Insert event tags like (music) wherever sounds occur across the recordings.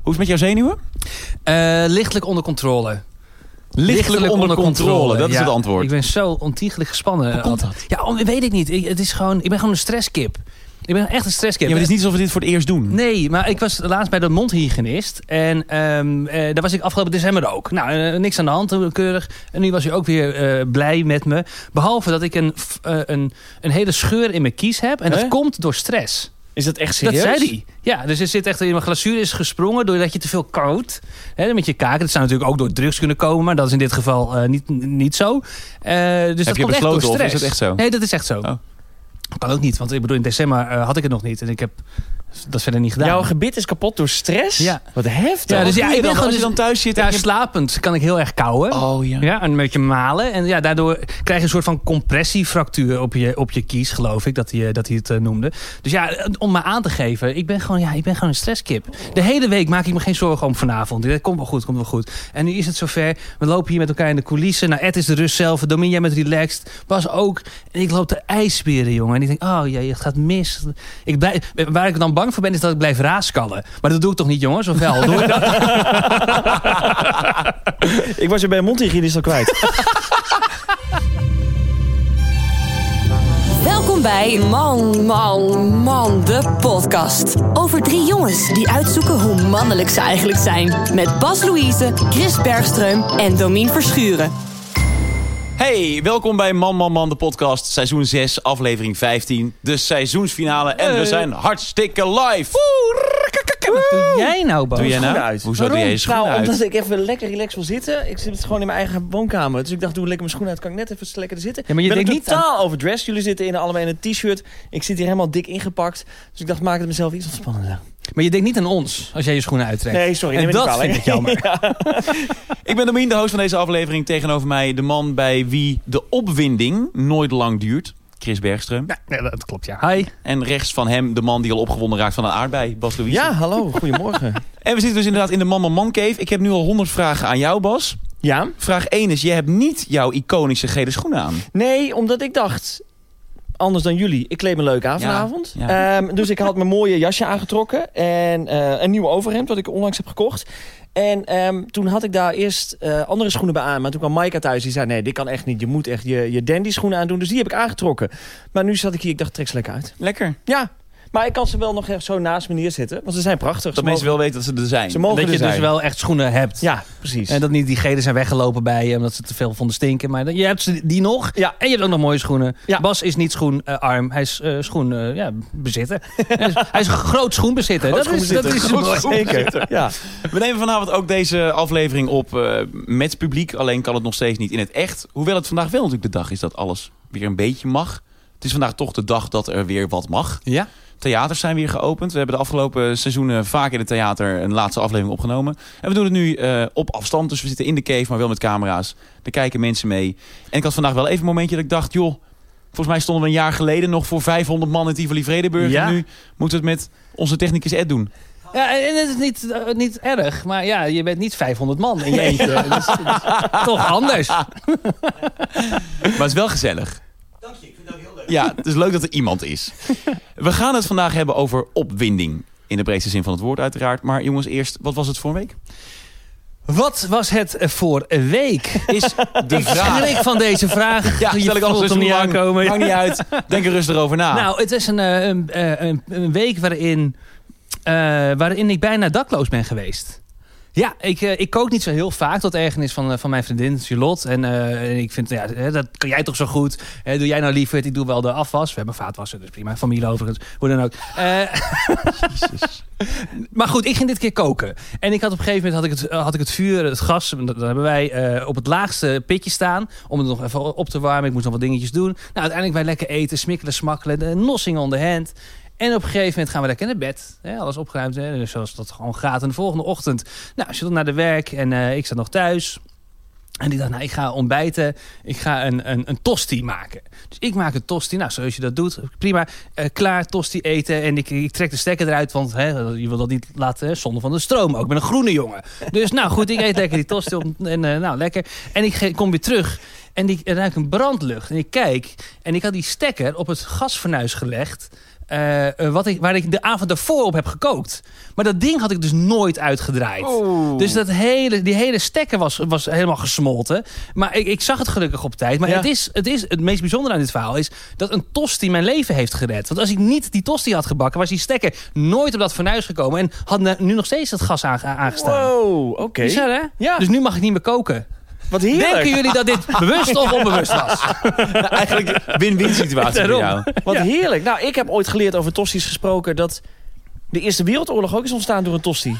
Hoe is het met jouw zenuwen? Eh, lichtelijk onder controle. Lichtelijk, onder, controle. Dat is ja. het antwoord. Ik ben zo ontiegelijk gespannen. Hoe komt eh, altijd. Ja, om- weet ik niet. Ik, het is gewoon, ik ben gewoon een stresskip. Ik ben echt een Ja, stresskip. maar het is niet alsof we dit voor het eerst doen. Nee, maar ik was laatst bij de mondhygiënist. En ehm, eh, daar was ik afgelopen december ook. Nou, eh, niks aan de hand, eh, keurig. En nu was hij ook weer eh, blij met me. Behalve dat ik een, f- eh, een, een hele scheur in mijn kies heb. En dat Hè? komt door stress. Is dat echt Dat serieus? zei hij. Ja, dus er zit echt in mijn glazuur is gesprongen doordat je te veel kookt. Hè, met je kaken. Dat zou natuurlijk ook door drugs kunnen komen, maar dat is in dit geval eh, niet, niet zo. Eh, dus Heb dat je komt echt door besloten of stress. is het echt zo? Nee, dat is echt zo. Oh. Kan ook niet, want ik bedoel, in december eh, had ik het nog niet. En ik heb dat verder niet gedaan. Jouw gebit is kapot door stress? Ja. Wat heftig. Ja, dus Wat doe ja, je ik ben dan gewoon als je dus- dan thuis zit. en ja, je- slapend kan ik heel erg kauwen. Oh ja. Ja, en een beetje malen. En ja, daardoor krijg je een soort van compressiefractuur op je, op je kies, geloof ik, dat hij, dat hij het eh, noemde. Dus ja, eh, om me aan te geven, ik ben, gewoon, ja, ik ben gewoon een stresskip. De hele week maak ik me geen zorgen om vanavond. Dat komt wel goed, komt wel goed. En nu is het zover. We lopen hier met elkaar in de coulissen. Nou, Ed is de rust zelf, Domin, jij met relaxed. Bas ook. En ik loop de ijsberen, jongen. En ik denk, oh jee, het gaat mis. Ik blijf, waar ik dan bang voor ben, is dat ik blijf raaskallen. Maar dat doe ik toch niet, jongens? Of (laughs) wel? Doe ik dat? Ik was er bij een mondhygiënist al (laughs) kwijt. Welkom bij Man, Man, Man, de podcast. Over drie jongens die uitzoeken hoe mannelijk ze eigenlijk zijn. Met Bas Louise, Chris Bergström en Domien Verschuren. Hey, welkom bij Man Man Man, de podcast. Seizoen 6, aflevering 15. De seizoensfinale. En we zijn hartstikke live. Doe jij nou, Bas? Oh, Doe jij nou? schoenen uit. Hoezo doe jij je schoenen nou, uit? omdat ik even lekker relaxed wil zitten. Ik zit gewoon in mijn eigen woonkamer. Dus ik dacht, doe lekker mijn schoenen uit. Kan ik net even lekker er zitten. Ja, maar je ik ben denkt ook niet aan- totaal overdressed. Jullie zitten in, allemaal in een t-shirt. Ik zit hier helemaal dik ingepakt. Dus ik dacht, maak het mezelf iets ontspannender. Maar je denkt niet aan ons als jij je schoenen uittrekt. Nee, sorry. En neem me niet dat kwalijk. vind ik jammer. Ik ben Domien, de host van deze aflevering. Tegenover mij de man bij wie de opwinding nooit lang duurt. Chris Bergström. Ja, nee, dat klopt, ja. Hi. En rechts van hem de man die al opgewonden raakt van een aardbei, Bas Louise. Ja, hallo. Goedemorgen. En we zitten dus inderdaad in de Man Man Man Cave. Ik heb nu al 100 vragen aan jou, Bas. ja? Vraag 1 is, je hebt niet jouw iconische gele schoenen aan. Nee, omdat ik dacht... Anders dan jullie. Ik kleed me leuk aan Ja, vanavond. ja. Ehm, dus ik had mijn mooie jasje aangetrokken. En eh, een nieuw overhemd, wat ik onlangs heb gekocht. En ehm, toen had ik daar eerst eh, andere schoenen bij aan. Maar toen kwam Maaika thuis. Die zei, nee, dit kan echt niet. Je moet echt je, je dandy schoenen aandoen. Dus die heb ik aangetrokken. Maar nu zat ik hier. Ik dacht, trek ze lekker uit. Lekker. Ja, maar ik kan ze wel nog echt zo naast me neerzetten. Want ze zijn prachtig. Dat Ze mensen mogen- wel weten dat ze er zijn. Ze mogen dat er je dus zijn. wel echt schoenen hebt. Ja, precies. En dat niet die gele zijn weggelopen bij je omdat ze te veel vonden stinken. Maar dat- je hebt ze die nog. Ja. En je hebt ook nog mooie schoenen. Ja. Bas is niet schoenarm. hij is eh schoen, eh, ja, bezitter. hij, is, hij is een groot schoenbezitter. Groot dat, is, dat schoenbezitter. is Groot mooi. Zeker, ja. We nemen vanavond ook deze aflevering op eh, met publiek. Alleen kan het nog steeds niet in het echt. Hoewel het vandaag wel natuurlijk de dag is dat alles weer een beetje mag. Het is vandaag toch de dag dat er weer wat mag. Ja. Theaters zijn weer geopend. We hebben de afgelopen seizoenen vaak in het theater een laatste aflevering opgenomen. En we doen het nu eh, op afstand. Dus we zitten in de cave, maar wel met camera's. Er kijken mensen mee. En ik had vandaag wel even een momentje dat ik dacht... joh, volgens mij stonden we een jaar geleden nog voor 500 man in Tivoli Vredenburg. Ja. En nu moeten we het met onze technicus Ed doen. ja. En het is niet, eh, niet erg. Maar ja, je bent niet 500 man in je eentje. Dat is- dat is toch anders. Maar het is wel gezellig. Dank je, ik vind het ook heel leuk. Ja, het is leuk dat er iemand (laughs) is. We gaan het vandaag hebben over opwinding. In de breedste zin van het woord uiteraard. Maar jongens, eerst, wat was het voor een week? Wat was het eh, voor een week? Is de vraag. Schrik van deze vraag. Ja, Je stel ik voelt alles hem niet aankomen. Maakt niet uit. Denk er rustig over na. Nou, het is een, eh, een, eh, een, een week waarin, eh, waarin ik bijna dakloos ben geweest. Ja, ik, eh, ik kook niet zo heel vaak tot ergernis van, eh, van mijn vriendin Charlotte. En eh, en ik vind, ja, hè, dat kan jij toch zo goed. Hè, doe jij nou liever, ik doe wel de afwas. We hebben vaatwasser, dus prima. Familie overigens, hoe dan ook. Eh, maar goed, ik ging dit keer koken. En ik had op een gegeven moment had ik het, eh, had ik het vuur, het gas, dat, dat hebben wij eh, op het laagste pitje staan. Om het nog even op te warmen. Ik moest nog wat dingetjes doen. Nou, uiteindelijk wij lekker eten, smikkelen, smakkelen, de nossing on the hand. En op een gegeven moment gaan we lekker naar bed. Hè, alles opgeruimd, hè, dus zoals dat gewoon gaat. En de volgende ochtend, nou, zit naar de werk en eh, ik zat nog thuis. En ik dacht, nou, ik ga ontbijten. Ik ga een, een, een tosti maken. Dus ik maak een tosti. Nou, zoals je dat doet, prima. Eh, klaar, tosti eten. En ik, ik trek de stekker eruit, want hè, je wil dat niet laten hè, zonder van de stroom. Ook ik ben een groene jongen. Dus nou, goed, ik eet lekker die tosti op. En eh, nou, lekker. En ik ge- kom weer terug. En ik ruik een brandlucht. En ik kijk. En ik had die stekker op het gasfornuis gelegd. eh, eh, eh, wat ik, waar ik de avond daarvoor op heb gekookt. Maar dat ding had ik dus nooit uitgedraaid. Oh. Dus dat hele, die hele stekker was, was helemaal gesmolten. Maar ik, ik zag het gelukkig op tijd. Maar Ja. het, is, het, is, het meest bijzondere aan dit verhaal is dat een tosti mijn leven heeft gered. Want als ik niet die tosti had gebakken, was die stekker nooit op dat fornuis gekomen. En had na- nu nog steeds dat gas aange- aangestaan. Wow, oké. Bizar, hè? Ja. Dus nu mag ik niet meer koken. Wat heerlijk. Denken jullie dat dit bewust of onbewust (laughs) was? Eigenlijk win-win situatie voor Daarom. jou. Wat heerlijk. Nou, ik heb ooit geleerd over tosti's gesproken dat de Eerste Wereldoorlog ook is ontstaan door een tosti.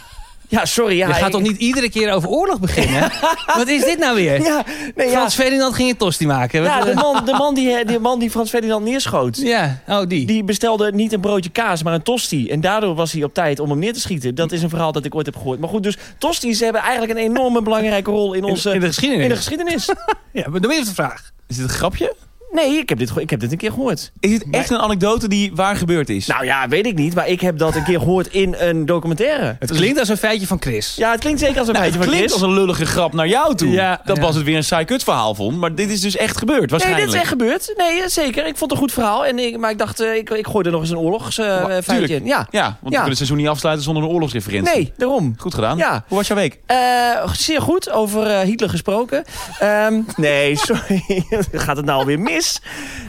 Ja, sorry. Ja, je gaat ik- toch niet iedere keer over (laughs) oorlog beginnen? Wat is dit nou weer? Ja, nee, ja. Frans Ferdinand ging een tosti maken. ja Wat, de, eh, man, de, man die, de man die Frans Ferdinand neerschoot, ja, oh die. die bestelde niet een broodje kaas, maar een tosti. En daardoor was hij op tijd om hem neer te schieten. Dat is een verhaal dat ik ooit heb gehoord. Maar goed, dus tosti's hebben eigenlijk een enorme belangrijke rol in onze... in de geschiedenis. in de geschiedenis. ja, maar dan ben je op de vraag. Is dit een grapje? Nee, ik heb, dit, ge- ik heb dit een keer gehoord. Is dit echt een anekdote die waar gebeurd is? Nou ja, weet ik niet, maar ik heb dat een keer gehoord in een documentaire. Het klinkt als een feitje van Chris. Ja, het klinkt zeker als een Nou, beetje het van klinkt Chris. als een lullige grap naar jou toe. Ja, dat ja. was het weer een saai kut verhaal vond. Maar dit is dus echt gebeurd Nee, waarschijnlijk. dit is echt gebeurd. Nee, eh, zeker. Ik vond het een goed verhaal. En ik, maar ik dacht, eh, ik, ik gooi er nog eens een Wa- oorlogsfeitje tuurlijk. in. Ja. Ja, want we kunnen het seizoen niet afsluiten zonder een oorlogsreferentie. Nee, daarom. Goed gedaan. Ja. Hoe was jouw week? Eh, zeer goed, over eh, Hitler gesproken. Ehm, (laughs) nee, sorry. Gaat het nou alweer mis?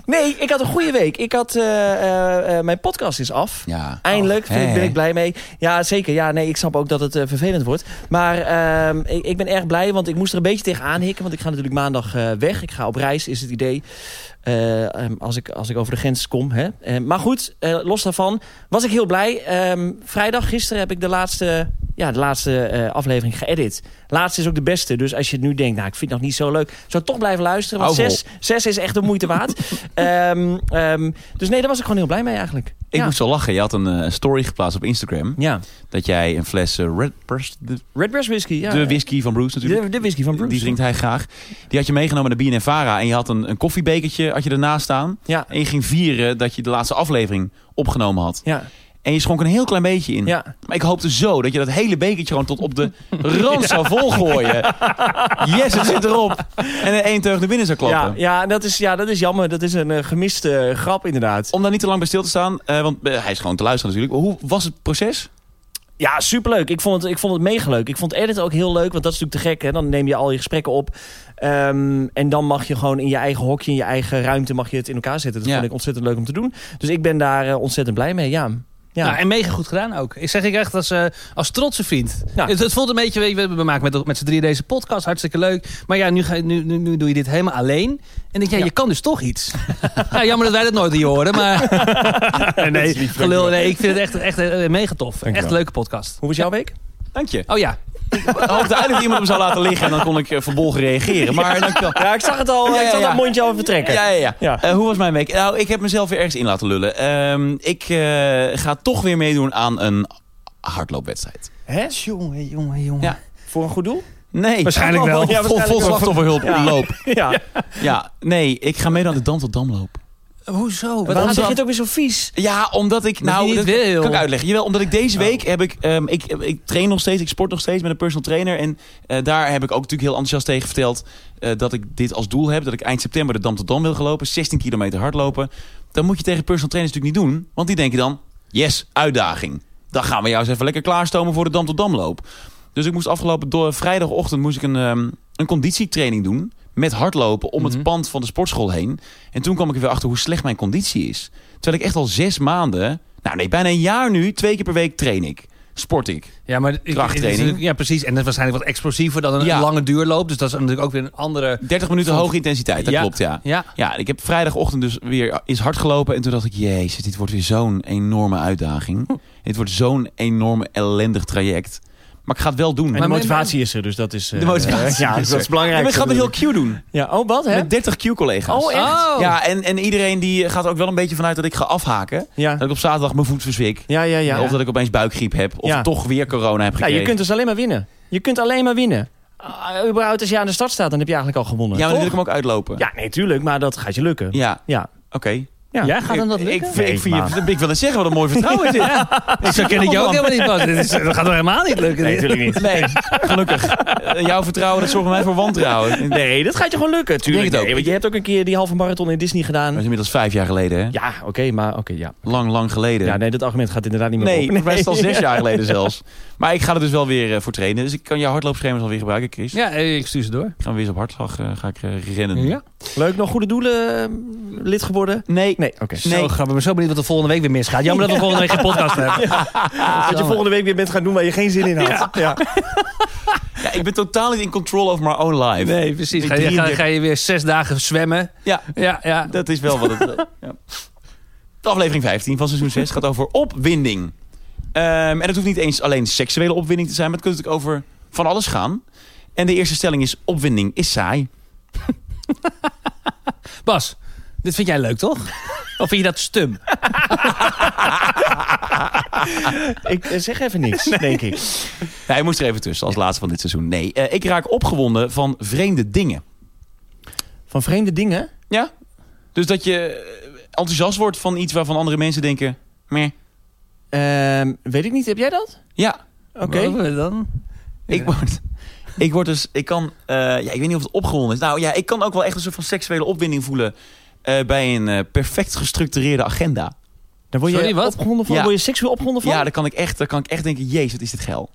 Nee, ik had een goede week. Ik had, eh, eh, eh, mijn podcast is af. Ja. Eindelijk, hè, vind ik- ben hè. ik blij mee. Ja, zeker. Ja, nee, ik snap ook dat het eh, vervelend wordt. Maar ehm, ik, ik ben erg blij, want ik moest er een beetje tegenaan hikken. Want ik ga natuurlijk maandag eh, weg. Ik ga op reis, is het idee. Eh, ehm, als, ik, als ik over de grens kom. Hè. Eh, maar goed, eh, los daarvan was ik heel blij. Ehm, vrijdag, gisteren, heb ik de laatste, ja, de laatste eh, aflevering geëdit. Laatste is ook de beste. Dus als je het nu denkt, nou, ik vind het nog niet zo leuk. Zou toch blijven luisteren. Want Hou vol. zes, zes is echt de moeite (laughs) waard. Ehm, ehm, dus nee, daar was ik gewoon heel blij mee eigenlijk. Ik ja. moest al lachen. Je had een eh, story geplaatst op Instagram. ja. Dat jij een fles eh, Red Breast- de, Redbreast whisky, ja. de whisky van Bruce natuurlijk. De, de whisky van Bruce. Die drinkt hij graag. Die had je meegenomen naar BNNVARA. En je had een, een koffiebekertje had je ernaast staan. Ja, En je ging vieren dat je de laatste aflevering opgenomen had. ja, En je schonk een heel klein beetje in. ja. Maar ik hoopte zo dat je dat hele bekertje gewoon tot (laughs) op de rand zou volgooien. Yes, het zit erop. En in één teug naar binnen zou klappen. Ja, ja, dat is, ja, dat is jammer. Dat is een eh, gemiste grap inderdaad. Om daar niet te lang bij stil te staan. eh, want eh, hij is gewoon te luisteren natuurlijk. Hoe was het proces? Ja, superleuk. Ik vond het, ik vond het mega leuk. Ik vond edit ook heel leuk, want dat is natuurlijk te gek. Hè? Dan neem je al je gesprekken op. Ehm, en dan mag je gewoon in je eigen hokje, in je eigen ruimte, mag je het in elkaar zetten. Dat Ja. vond ik ontzettend leuk om te doen. Dus ik ben daar eh, ontzettend blij mee, ja. Ja, Nou, en mega goed gedaan ook. Ik zeg ik echt als, eh, als trotse vriend. Ja. Het, het voelt een beetje, weet je, we maken met, met z'n drieën deze podcast, hartstikke leuk. Maar ja, nu, ga, je- nu, nu, nu doe je dit helemaal alleen. En dan denk je, ja, je kan dus toch iets. (laughs) ja, jammer dat wij dat nooit hier horen, maar... (laughs) nee, gelul, nee, ik vind het echt, echt eh, mega tof. echt een leuke podcast. hoe was jouw week? Dank je. Oh ja, Ik hoopte eigenlijk dat iemand hem zou laten liggen. En dan kon ik eh, verbolgen reageren. Maar dankjewel. Ja, ik zag het al. eh, Ja, ik zag ja, dat ja. mondje al vertrekken. Ja, ja, ja. Ja. Eh, hoe was mijn week? Nou, ik heb mezelf weer ergens in laten lullen. Ehm, ik eh, ga toch weer meedoen aan een hardloopwedstrijd. Hè? jongen, jongen, jongen. Ja. Voor een goed doel? Nee. Waarschijnlijk wel. Ja, vol, vol slachtofferhulp Ja. loop. Ja. Ja, nee, ik ga meedoen aan de Dam tot Damloop. Hoezo? Waarom dan? zeg je het ook weer zo vies? Ja, omdat ik... Nou, niet dat wil. Oh. kan ik uitleggen. Jawel, omdat ik deze week heb ik, ehm, ik... Ik train nog steeds, ik sport nog steeds met een personal trainer. En eh, daar heb ik ook natuurlijk heel enthousiast tegen verteld... eh, dat ik dit als doel heb. Dat ik eind september de Dam tot Dam wil gelopen. 16 kilometer hardlopen. Dan moet je tegen personal trainers natuurlijk niet doen. Want die denken dan... Yes, uitdaging. Dan gaan we jou eens even lekker klaarstomen voor de Dam tot Damloop. Dus ik moest afgelopen do- vrijdagochtend moest ik een, ehm, een conditietraining doen... met hardlopen om Mhm. het pand van de sportschool heen. En toen kwam ik er weer achter hoe slecht mijn conditie is. Terwijl ik echt al zes maanden, nou nee, bijna een jaar nu, twee keer per week train ik. Sport ik. Ja, maar ik- ik, Krachttraining. het is natuurlijk- Ja, precies. En dat is waarschijnlijk wat explosiever dan een Ja. lange duurloop. Dus dat is natuurlijk ook weer een andere... 30 minuten hoge intensiteit, dat Ja. klopt ja. Ja, Ja, ik heb vrijdagochtend dus weer eens hard gelopen. En toen dacht ik, jezus, dit wordt weer zo'n enorme uitdaging. Dit wordt zo'n enorm ellendig traject. Maar ik ga het wel doen. En Maar de maar- motivatie is er, dus dat is... eh, De motivatie Ja, is dus dat er. is belangrijk. ik ga het heel natuurlijk. cute doen. Ja, oh, wat, hè? Met 30 Q-collega's. Oh, echt? Ja. Ja, en, en iedereen die gaat er ook wel een beetje vanuit dat ik ga afhaken. Ja, Dat ik op zaterdag mijn voet verzwik. ja, ja. ja. Of dat ik opeens buikgriep heb. Of Ja. toch weer corona Ja, heb gekregen. je kunt dus alleen maar winnen. Je kunt alleen maar winnen. Uh, überhaupt als je aan de start staat, dan heb je eigenlijk al gewonnen. Ja, maar dan wil Toch? ik hem ook uitlopen. ja nee, tuurlijk, maar dat gaat je lukken. Ja, Ja. oké. Ja. Ja, gaat hem dat Ik- lukken? Ik, vind- ik, Nee, vind je- maar- ik wil het zeggen, wat een mooi vertrouwen (laughs) is dit. Ik Zo ken ik jou ook man. helemaal niet, Bas. Dit is- Dat gaat toch helemaal niet lukken? Nee, dit? natuurlijk niet. Nee, gelukkig. Eh, Jouw vertrouwen, dat zorgt bij mij voor wantrouwen. Nee. Dat Nee, dat gaat je gewoon lukken. Tuurlijk het ook. nee, want je hebt ook een keer die halve marathon in Disney gedaan. is inmiddels vijf jaar geleden, hè? Ja, oké, maar oké, ja. Lang, lang geleden. Ja, nee, dat argument gaat inderdaad niet meer Nee, op. voor mij is het al zes (laughs) jaar geleden zelfs. Maar ik ga er dus wel weer eh, voor trainen. Dus ik kan jouw hardloopschema's alweer gebruiken, Chris. Ja, eh, ik stuur ze door. Gaan we weer eens op hartslag eh, ga ik eh, rennen. Ja. Leuk, nog goede doelen eh, lid geworden? Nee, Nee, oké. Nee. Zo grappig. Ik ben zo benieuwd wat er volgende week weer misgaat. Jammer dat we volgende week geen podcast hebben. dat je volgende week weer bent gaan doen waar je geen zin in had. Ja. Ja, ik ben totaal niet in control over my own life. Nee, precies. Ga je, ga, ga je weer zes dagen zwemmen? Ja. Ja, ja. Dat is wel wat het... (laughs) eh, ja. De aflevering 15 van seizoen 6 gaat over opwinding. Ehm, en het hoeft niet eens alleen seksuele opwinding te zijn... maar het kunt natuurlijk over van alles gaan. En de eerste stelling is... opwinding is saai. Bas, dit vind jij leuk, toch? Of vind je dat stum? Ik eh, zeg even niks, denk ik. Ja, hij moest er even tussen als laatste van dit seizoen. Nee, eh, ik raak opgewonden van vreemde dingen. Van vreemde dingen? Ja? Dus dat je eh, enthousiast wordt van iets waarvan andere mensen denken... meh. Ehm, weet ik niet, heb jij dat? Ja, Oké. Wat dan? ik word... Ik word dus... Ik kan... eh, ja, ik weet niet of het opgewonden is. Nou ja, ik kan ook wel echt een soort van seksuele opwinding voelen... eh, bij een eh, perfect gestructureerde agenda. Daar word je Sorry, wat? opgewonden van? Ja. Word je seksueel opgewonden van? Ja, dan kan ik echt, dan kan ik echt denken... Jezus, wat is dit geil.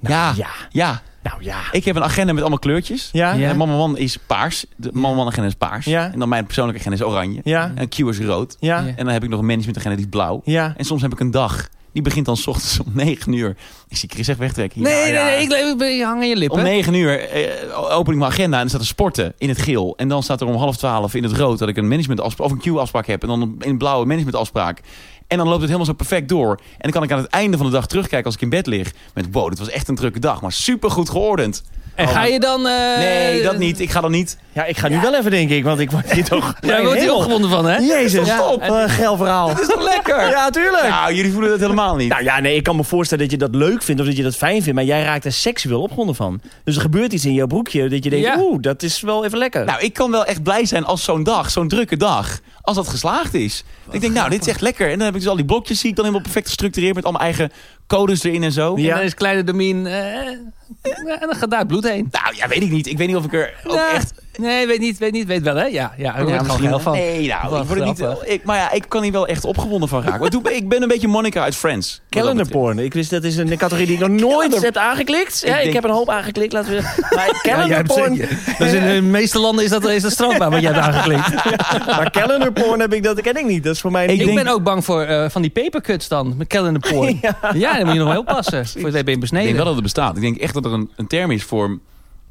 ja, ja, ja. Nou ja. Ik heb een agenda met allemaal kleurtjes. Ja? Ja. En Mama Man is paars. De Mama Man agenda is paars. Ja. En dan mijn persoonlijke agenda is oranje. Ja. En Q is rood. Ja. Ja. En dan heb ik nog een managementagenda die is blauw. Ja. En soms heb ik een dag. Die begint dan 's ochtends om 9 uur. Ik zie Chris echt wegtrekken. Nee, Ja, nee, ja. Oh, nee. Ik, ik ben, je hangt aan je lippen. Om 9 uur eh, open ik mijn agenda en er staat er sporten in het geel. En dan staat er om half 12 in het rood dat ik een managementafspraak of een Q-afspraak heb. En dan in het blauw een managementafspraak. En dan loopt het helemaal zo perfect door. En dan kan ik aan het einde van de dag terugkijken als ik in bed lig. Met wow, dit was echt een drukke dag. Maar supergoed geordend. En ga je dan... eh, Nee, dat niet. Ik ga dan niet. Ja, ik ga nu wel even, denk ik, want ik word hier toch... Daar wordt hij Helemaal- opgewonden van, hè? Jezus, Ja. stop. eh, geil verhaal. Dat is toch (laughs) lekker? Ja, tuurlijk. Nou, jullie voelen dat helemaal niet. Nou ja, nee, ik kan me voorstellen dat je dat leuk vindt of dat je dat fijn vindt, maar jij raakt er seksueel opgewonden van. Dus er gebeurt iets in jouw broekje dat je denkt, Ja. oeh, dat is wel even lekker. Nou, ik kan wel echt blij zijn als zo'n dag, zo'n drukke dag, als dat geslaagd is. ik denk, nou, dit is echt lekker. En dan heb ik dus al die blokjes, zie ik dan helemaal perfect gestructureerd met al mijn eigen codes erin en zo. En dan is kleine Domien... eh, en dan gaat daar het bloed heen. Nou, ja, weet ik niet. Ik weet niet of ik er Oh, nou, ook Ja. echt... Nee, weet niet, weet niet, weet wel, hè? Ja, ja. Daar word ik gewoon misschien- geil van. Oh. Nee, nou, Wat ik word er niet... grappig. Ik, maar ja, ik kan hier wel echt opgewonden van raken. Want doe- ik ben een beetje Monica uit Friends. (laughs) wat dat Calendar betreft. porn. Ik wist dat is een categorie die ik nog nooit heb aangeklikt. Ja, ik, denk- heb een hoop aangeklikt, laten we Maar Ja, jij calendar hebt porn. zeker- (laughs) Dus in de meeste landen is dat, is dat strafbaar wat jij hebt aangeklikt. Maar calendar porn heb ik dat ken ik niet. Dat is voor mij (laughs) Ik, niet. denk- ben ook bang voor eh, van die papercuts dan. Met Kel in de poort. (laughs) ja. dan moet je nog wel oppassen. voor je het been Ik besneden. denk wel dat het bestaat. Ik denk echt dat er een, een term is voor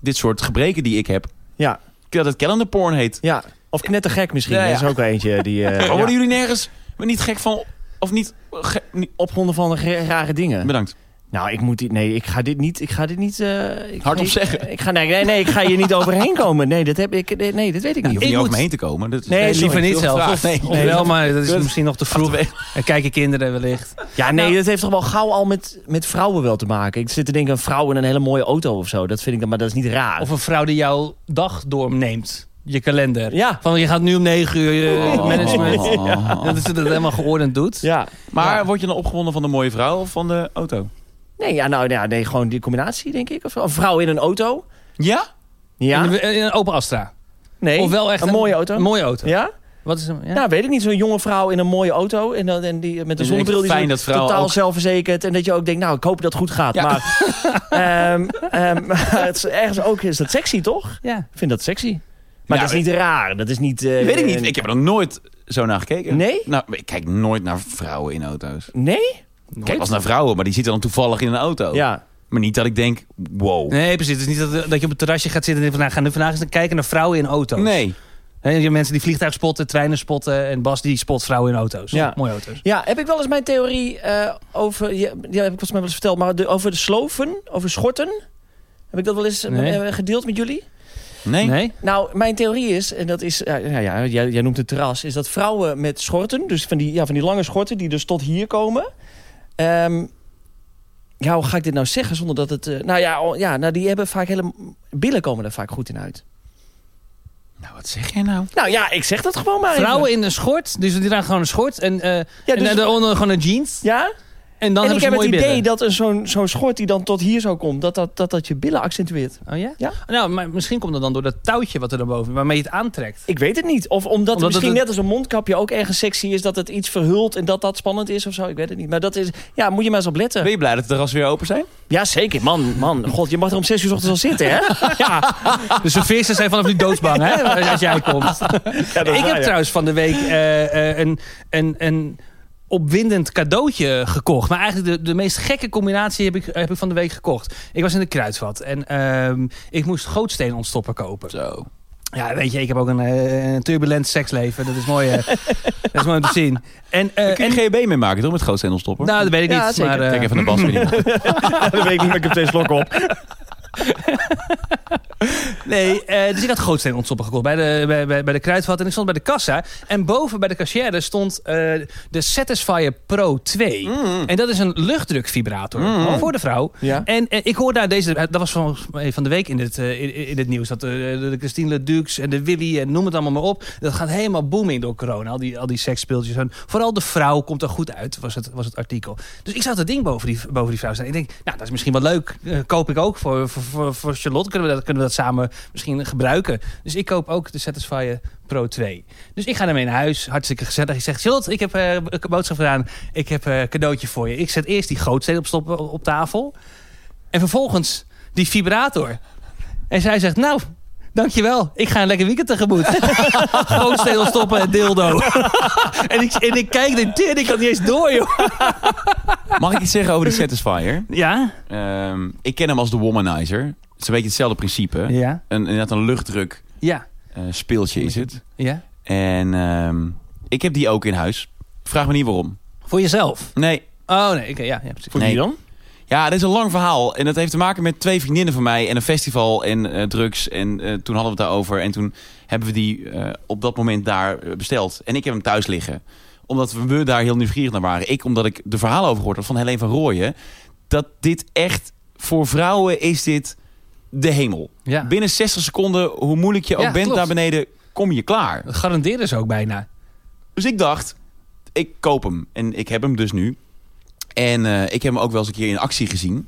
dit soort gebreken die ik heb. Ja, Dat het calendar porn heet. ja. Of knettergek misschien. Ja, ja. Dat is ook wel eentje die... (laughs) eh, Maar ja. worden jullie nergens niet gek van... Of niet... ge- niet- Opgewonden van ge- rare dingen. Bedankt. Nou, ik moet dit. Nee, ik ga dit niet. Ik ga dit niet. eh, ik Hardop ga- zeggen. Ik ga, nee, nee, nee, ik ga hier niet overheen komen. Nee, dat heb ik. nee, Nee, dat weet ik Je niet. hoeft niet Ik over moet- me heen te komen. Dat is- Nee, sorry, Liever ik niet wil zelf. graag- Of, (laughs) Nee, of nee. wel, maar dat is Dat- misschien nog te vroeg. Laten En kijken kinderen wellicht. Ja, nee, Nou- dat heeft toch wel gauw al met, met vrouwen wel te maken. Ik zit te denken, een vrouw in een hele mooie auto of zo. Dat vind ik dan, maar dat is niet raar. Of een vrouw die jouw dag doorneemt. Je kalender. Ja. Van je gaat nu om negen uur je Oh. management. Ja. Dat ze dat helemaal geordend doet. ja. Maar Ja. word je dan opgewonden van de mooie vrouw of van de auto? Nee, ja, nou, ja, nee, gewoon die combinatie, denk ik. Of zo. een vrouw in een auto. Ja? Ja. In, een- in een open Astra. nee. Of wel echt een, mooie auto. Een mooie auto. ja? Wat is hem? Ja. Nou, weet ik niet. Zo'n jonge vrouw in een mooie auto. En, dan, en die met een Dus zonnebril. echt Die fijn zo dat vrouwen totaal ook- zelfverzekerd. En dat je ook denkt, nou, ik hoop dat het goed gaat. Ja. (laughs) Maar ehm, ehm, (laughs) maar het is ergens ook is dat sexy, toch? ja. Ik vind dat sexy. Maar Nou, dat is niet raar. Dat is niet... eh, weet ik niet. Ik heb er nog nooit zo naar gekeken. Nee? Nou, ik kijk nooit naar vrouwen in auto's. Ik Nee? Kijk wel eens naar vrouwen, maar die zitten dan toevallig in een auto. Ja. Maar niet dat ik denk, wow. Nee, precies. Het is niet dat, dat je op het terrasje gaat zitten en denkt van... Nou, gaan we vandaag eens kijken naar vrouwen in auto's. Nee. Hè, je hebt mensen die vliegtuig spotten, treinen spotten. En Bas die spot vrouwen in auto's. Ja. Mooie auto's. Ja, heb ik wel eens mijn theorie eh, over... Ja, die heb ik volgens mij wel eens verteld. Maar de, over de sloven, over schorten. Heb ik dat wel eens eh, Nee. eh, gedeeld met jullie? Nee? Nou, mijn theorie is, en dat is, ja, ja, ja, jij, jij noemt het terras, is dat vrouwen met schorten, dus van die, ja, van die lange schorten die dus tot hier komen. Ehm, ja, hoe ga ik dit nou zeggen zonder dat het. eh, nou ja, oh, ja nou, die hebben vaak hele. Billen komen er vaak goed in uit. Nou, wat zeg jij nou? Nou ja, ik zeg dat gewoon maar even. Vrouwen in een schort, dus die dragen gewoon een schort en, eh, en dus- eh, daaronder gewoon een jeans. Ja? En dan en hebben ik ze heb het mooie idee billen. dat een zo'n zo'n schort die dan tot hier zo komt, dat dat, dat dat je billen accentueert. Oh ja? Ja. Nou, maar misschien komt dat dan door dat touwtje wat er dan boven, waarmee je het aantrekt. Ik weet het niet. Of omdat, het Omdat misschien het- net als een mondkapje ook ergens sexy is, dat het iets verhult en dat dat spannend is of zo. Ik weet het niet. Maar dat is, ja, moet je maar eens op letten. Ben je blij dat de terrassen weer open zijn? Ja, zeker. Man, man. God, je mag er om zes uur 's ochtends al (laughs) zitten, hè? (laughs) Ja. Dus de vissers zijn vanaf nu doodsbang, hè? Als jij komt. ik heb trouwens van de week eh, eh, een, een, een opwindend cadeautje gekocht. Maar eigenlijk de, de meest gekke combinatie heb ik, heb ik van de week gekocht. Ik was in de kruidvat en ehm, ik moest gootsteenontstopper kopen. Zo. Ja, weet je, ik heb ook een, eh, een turbulent seksleven. Dat is mooi, eh, (laughs) dat is mooi om te zien. En, eh, Kun en- je GHB mee maken, toch? Met gootsteenopstopper? nou, dat weet ik Ja, niet. zeker. Maar, eh, Kijk even naar Bas. weet je (laughs) niet. dat weet ik niet, maar ik heb twee slokken op. Nee, eh, dus ik had gootsteenontstopper gekocht bij de, bij, bij, bij de kruidvat. En ik stond bij de kassa. En boven bij de cashier stond eh, de Satisfyer Pro 2. En dat is een luchtdrukvibrator Oh. voor de vrouw. Ja. En eh, ik hoor daar deze... Dat was van, van de week in dit, eh, in, in dit nieuws. Dat eh, de Christine Ledux en de Willy en noem het allemaal maar op. Dat gaat helemaal booming door corona. Al die, al die seksspeeltjes. En vooral de vrouw komt er goed uit, was het, was het artikel. Dus ik zag dat ding boven die, boven die vrouw staan. Ik denk, nou, dat is misschien wel leuk. Eh, koop ik ook voor, voor, voor, voor Charlotte. Kunnen we, dat, kunnen we dat samen misschien gebruiken? Dus ik koop ook de Satisfyer Pro 2. Dus ik ga daarmee naar huis. Hartstikke gezellig. Ik zeg, Charlotte, ik heb eh, een boodschap gedaan. Ik heb eh, een cadeautje voor je. Ik zet eerst die gootsteen op, stop, op tafel. En vervolgens die vibrator. En zij zegt, nou, dankjewel. Ik ga een lekker weekend tegemoet. (laughs) Gootsteen stoppen en dildo. en, ik, en ik kijk dit en ik had niet eens door, joh. Mag ik iets zeggen over de Satisfyer? Ja? Ehm, ik ken hem als de Womanizer. Het is een beetje hetzelfde principe. Ja. Een, inderdaad een luchtdruk Ja. eh, speeltje is het. Ja. En ehm, ik heb die ook in huis. Vraag me niet waarom. Voor jezelf. Nee. Oh, nee. oké, ja, ja, precies. Voor wie Nee. dan? Ja, dat is een lang verhaal. En dat heeft te maken met twee vriendinnen van mij en een festival en eh, drugs. En eh, toen hadden we het daarover. En toen hebben we die eh, op dat moment daar eh, besteld. En ik heb hem thuis liggen. Omdat we, we daar heel nieuwsgierig naar waren. Ik, omdat ik de verhalen over gehoord had van Helene van Rooyen. Dat dit echt, voor vrouwen is dit de hemel. Ja. Binnen 60 seconden, hoe moeilijk je ook Ja, bent klopt. daar beneden, kom je klaar. Dat garanderen ze ook bijna. Dus ik dacht, ik koop hem. En ik heb hem dus nu. En eh, ik heb hem ook wel eens een keer in actie gezien.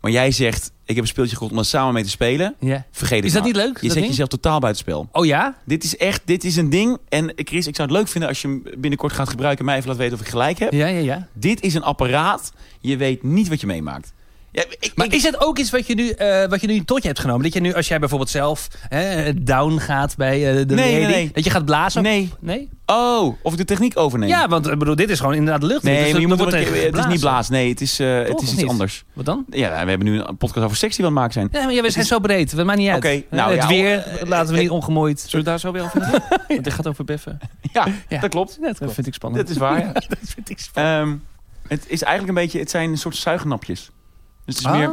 Maar jij zegt, ik heb een speeltje gekocht om dat samen mee te spelen. Ja. Vergeet het Is dat maar. niet leuk, dat Je zet ding? jezelf totaal buitenspel. Oh ja? Dit is echt, dit is een ding. En eh, Chris, ik zou het leuk vinden als je hem binnenkort gaat gebruiken. en Mij even laat weten of ik gelijk heb. Ja, ja, ja. Dit is een apparaat. Je weet niet wat je meemaakt. Ja, ik, Maar ik- is het ook iets wat je, nu, eh, wat je nu tot je hebt genomen? Dat je nu, als jij bijvoorbeeld zelf hè, down gaat bij eh, de Nee, nee, lady, nee. dat je gaat blazen? Nee. Nee? Oh, of ik de techniek overneem. Ja, want ik bedoel, dit is gewoon inderdaad lucht. Dus nee, maar je moet wordt wel een tegen keer- het is niet geblazen. blaas. Nee, het is, eh, Toch, het is of iets niet? anders. Wat dan? Ja, we hebben nu een podcast over seks die we aan het maken zijn. (laughs) Ja, maar ja, we zijn zo breed. Het maakt niet uit. Eh, Oké, nou het ja, weer laten we niet ongemoeid. Zullen we daar zo weer (laughs) over hebben? Want dit gaat over beffen. Ja, Ja. dat klopt. Net Dat vind ik spannend. Dat is waar. ja. (laughs) Ehm, het is eigenlijk een beetje, het zijn een soort zuignapjes. Dus het Ah. is meer,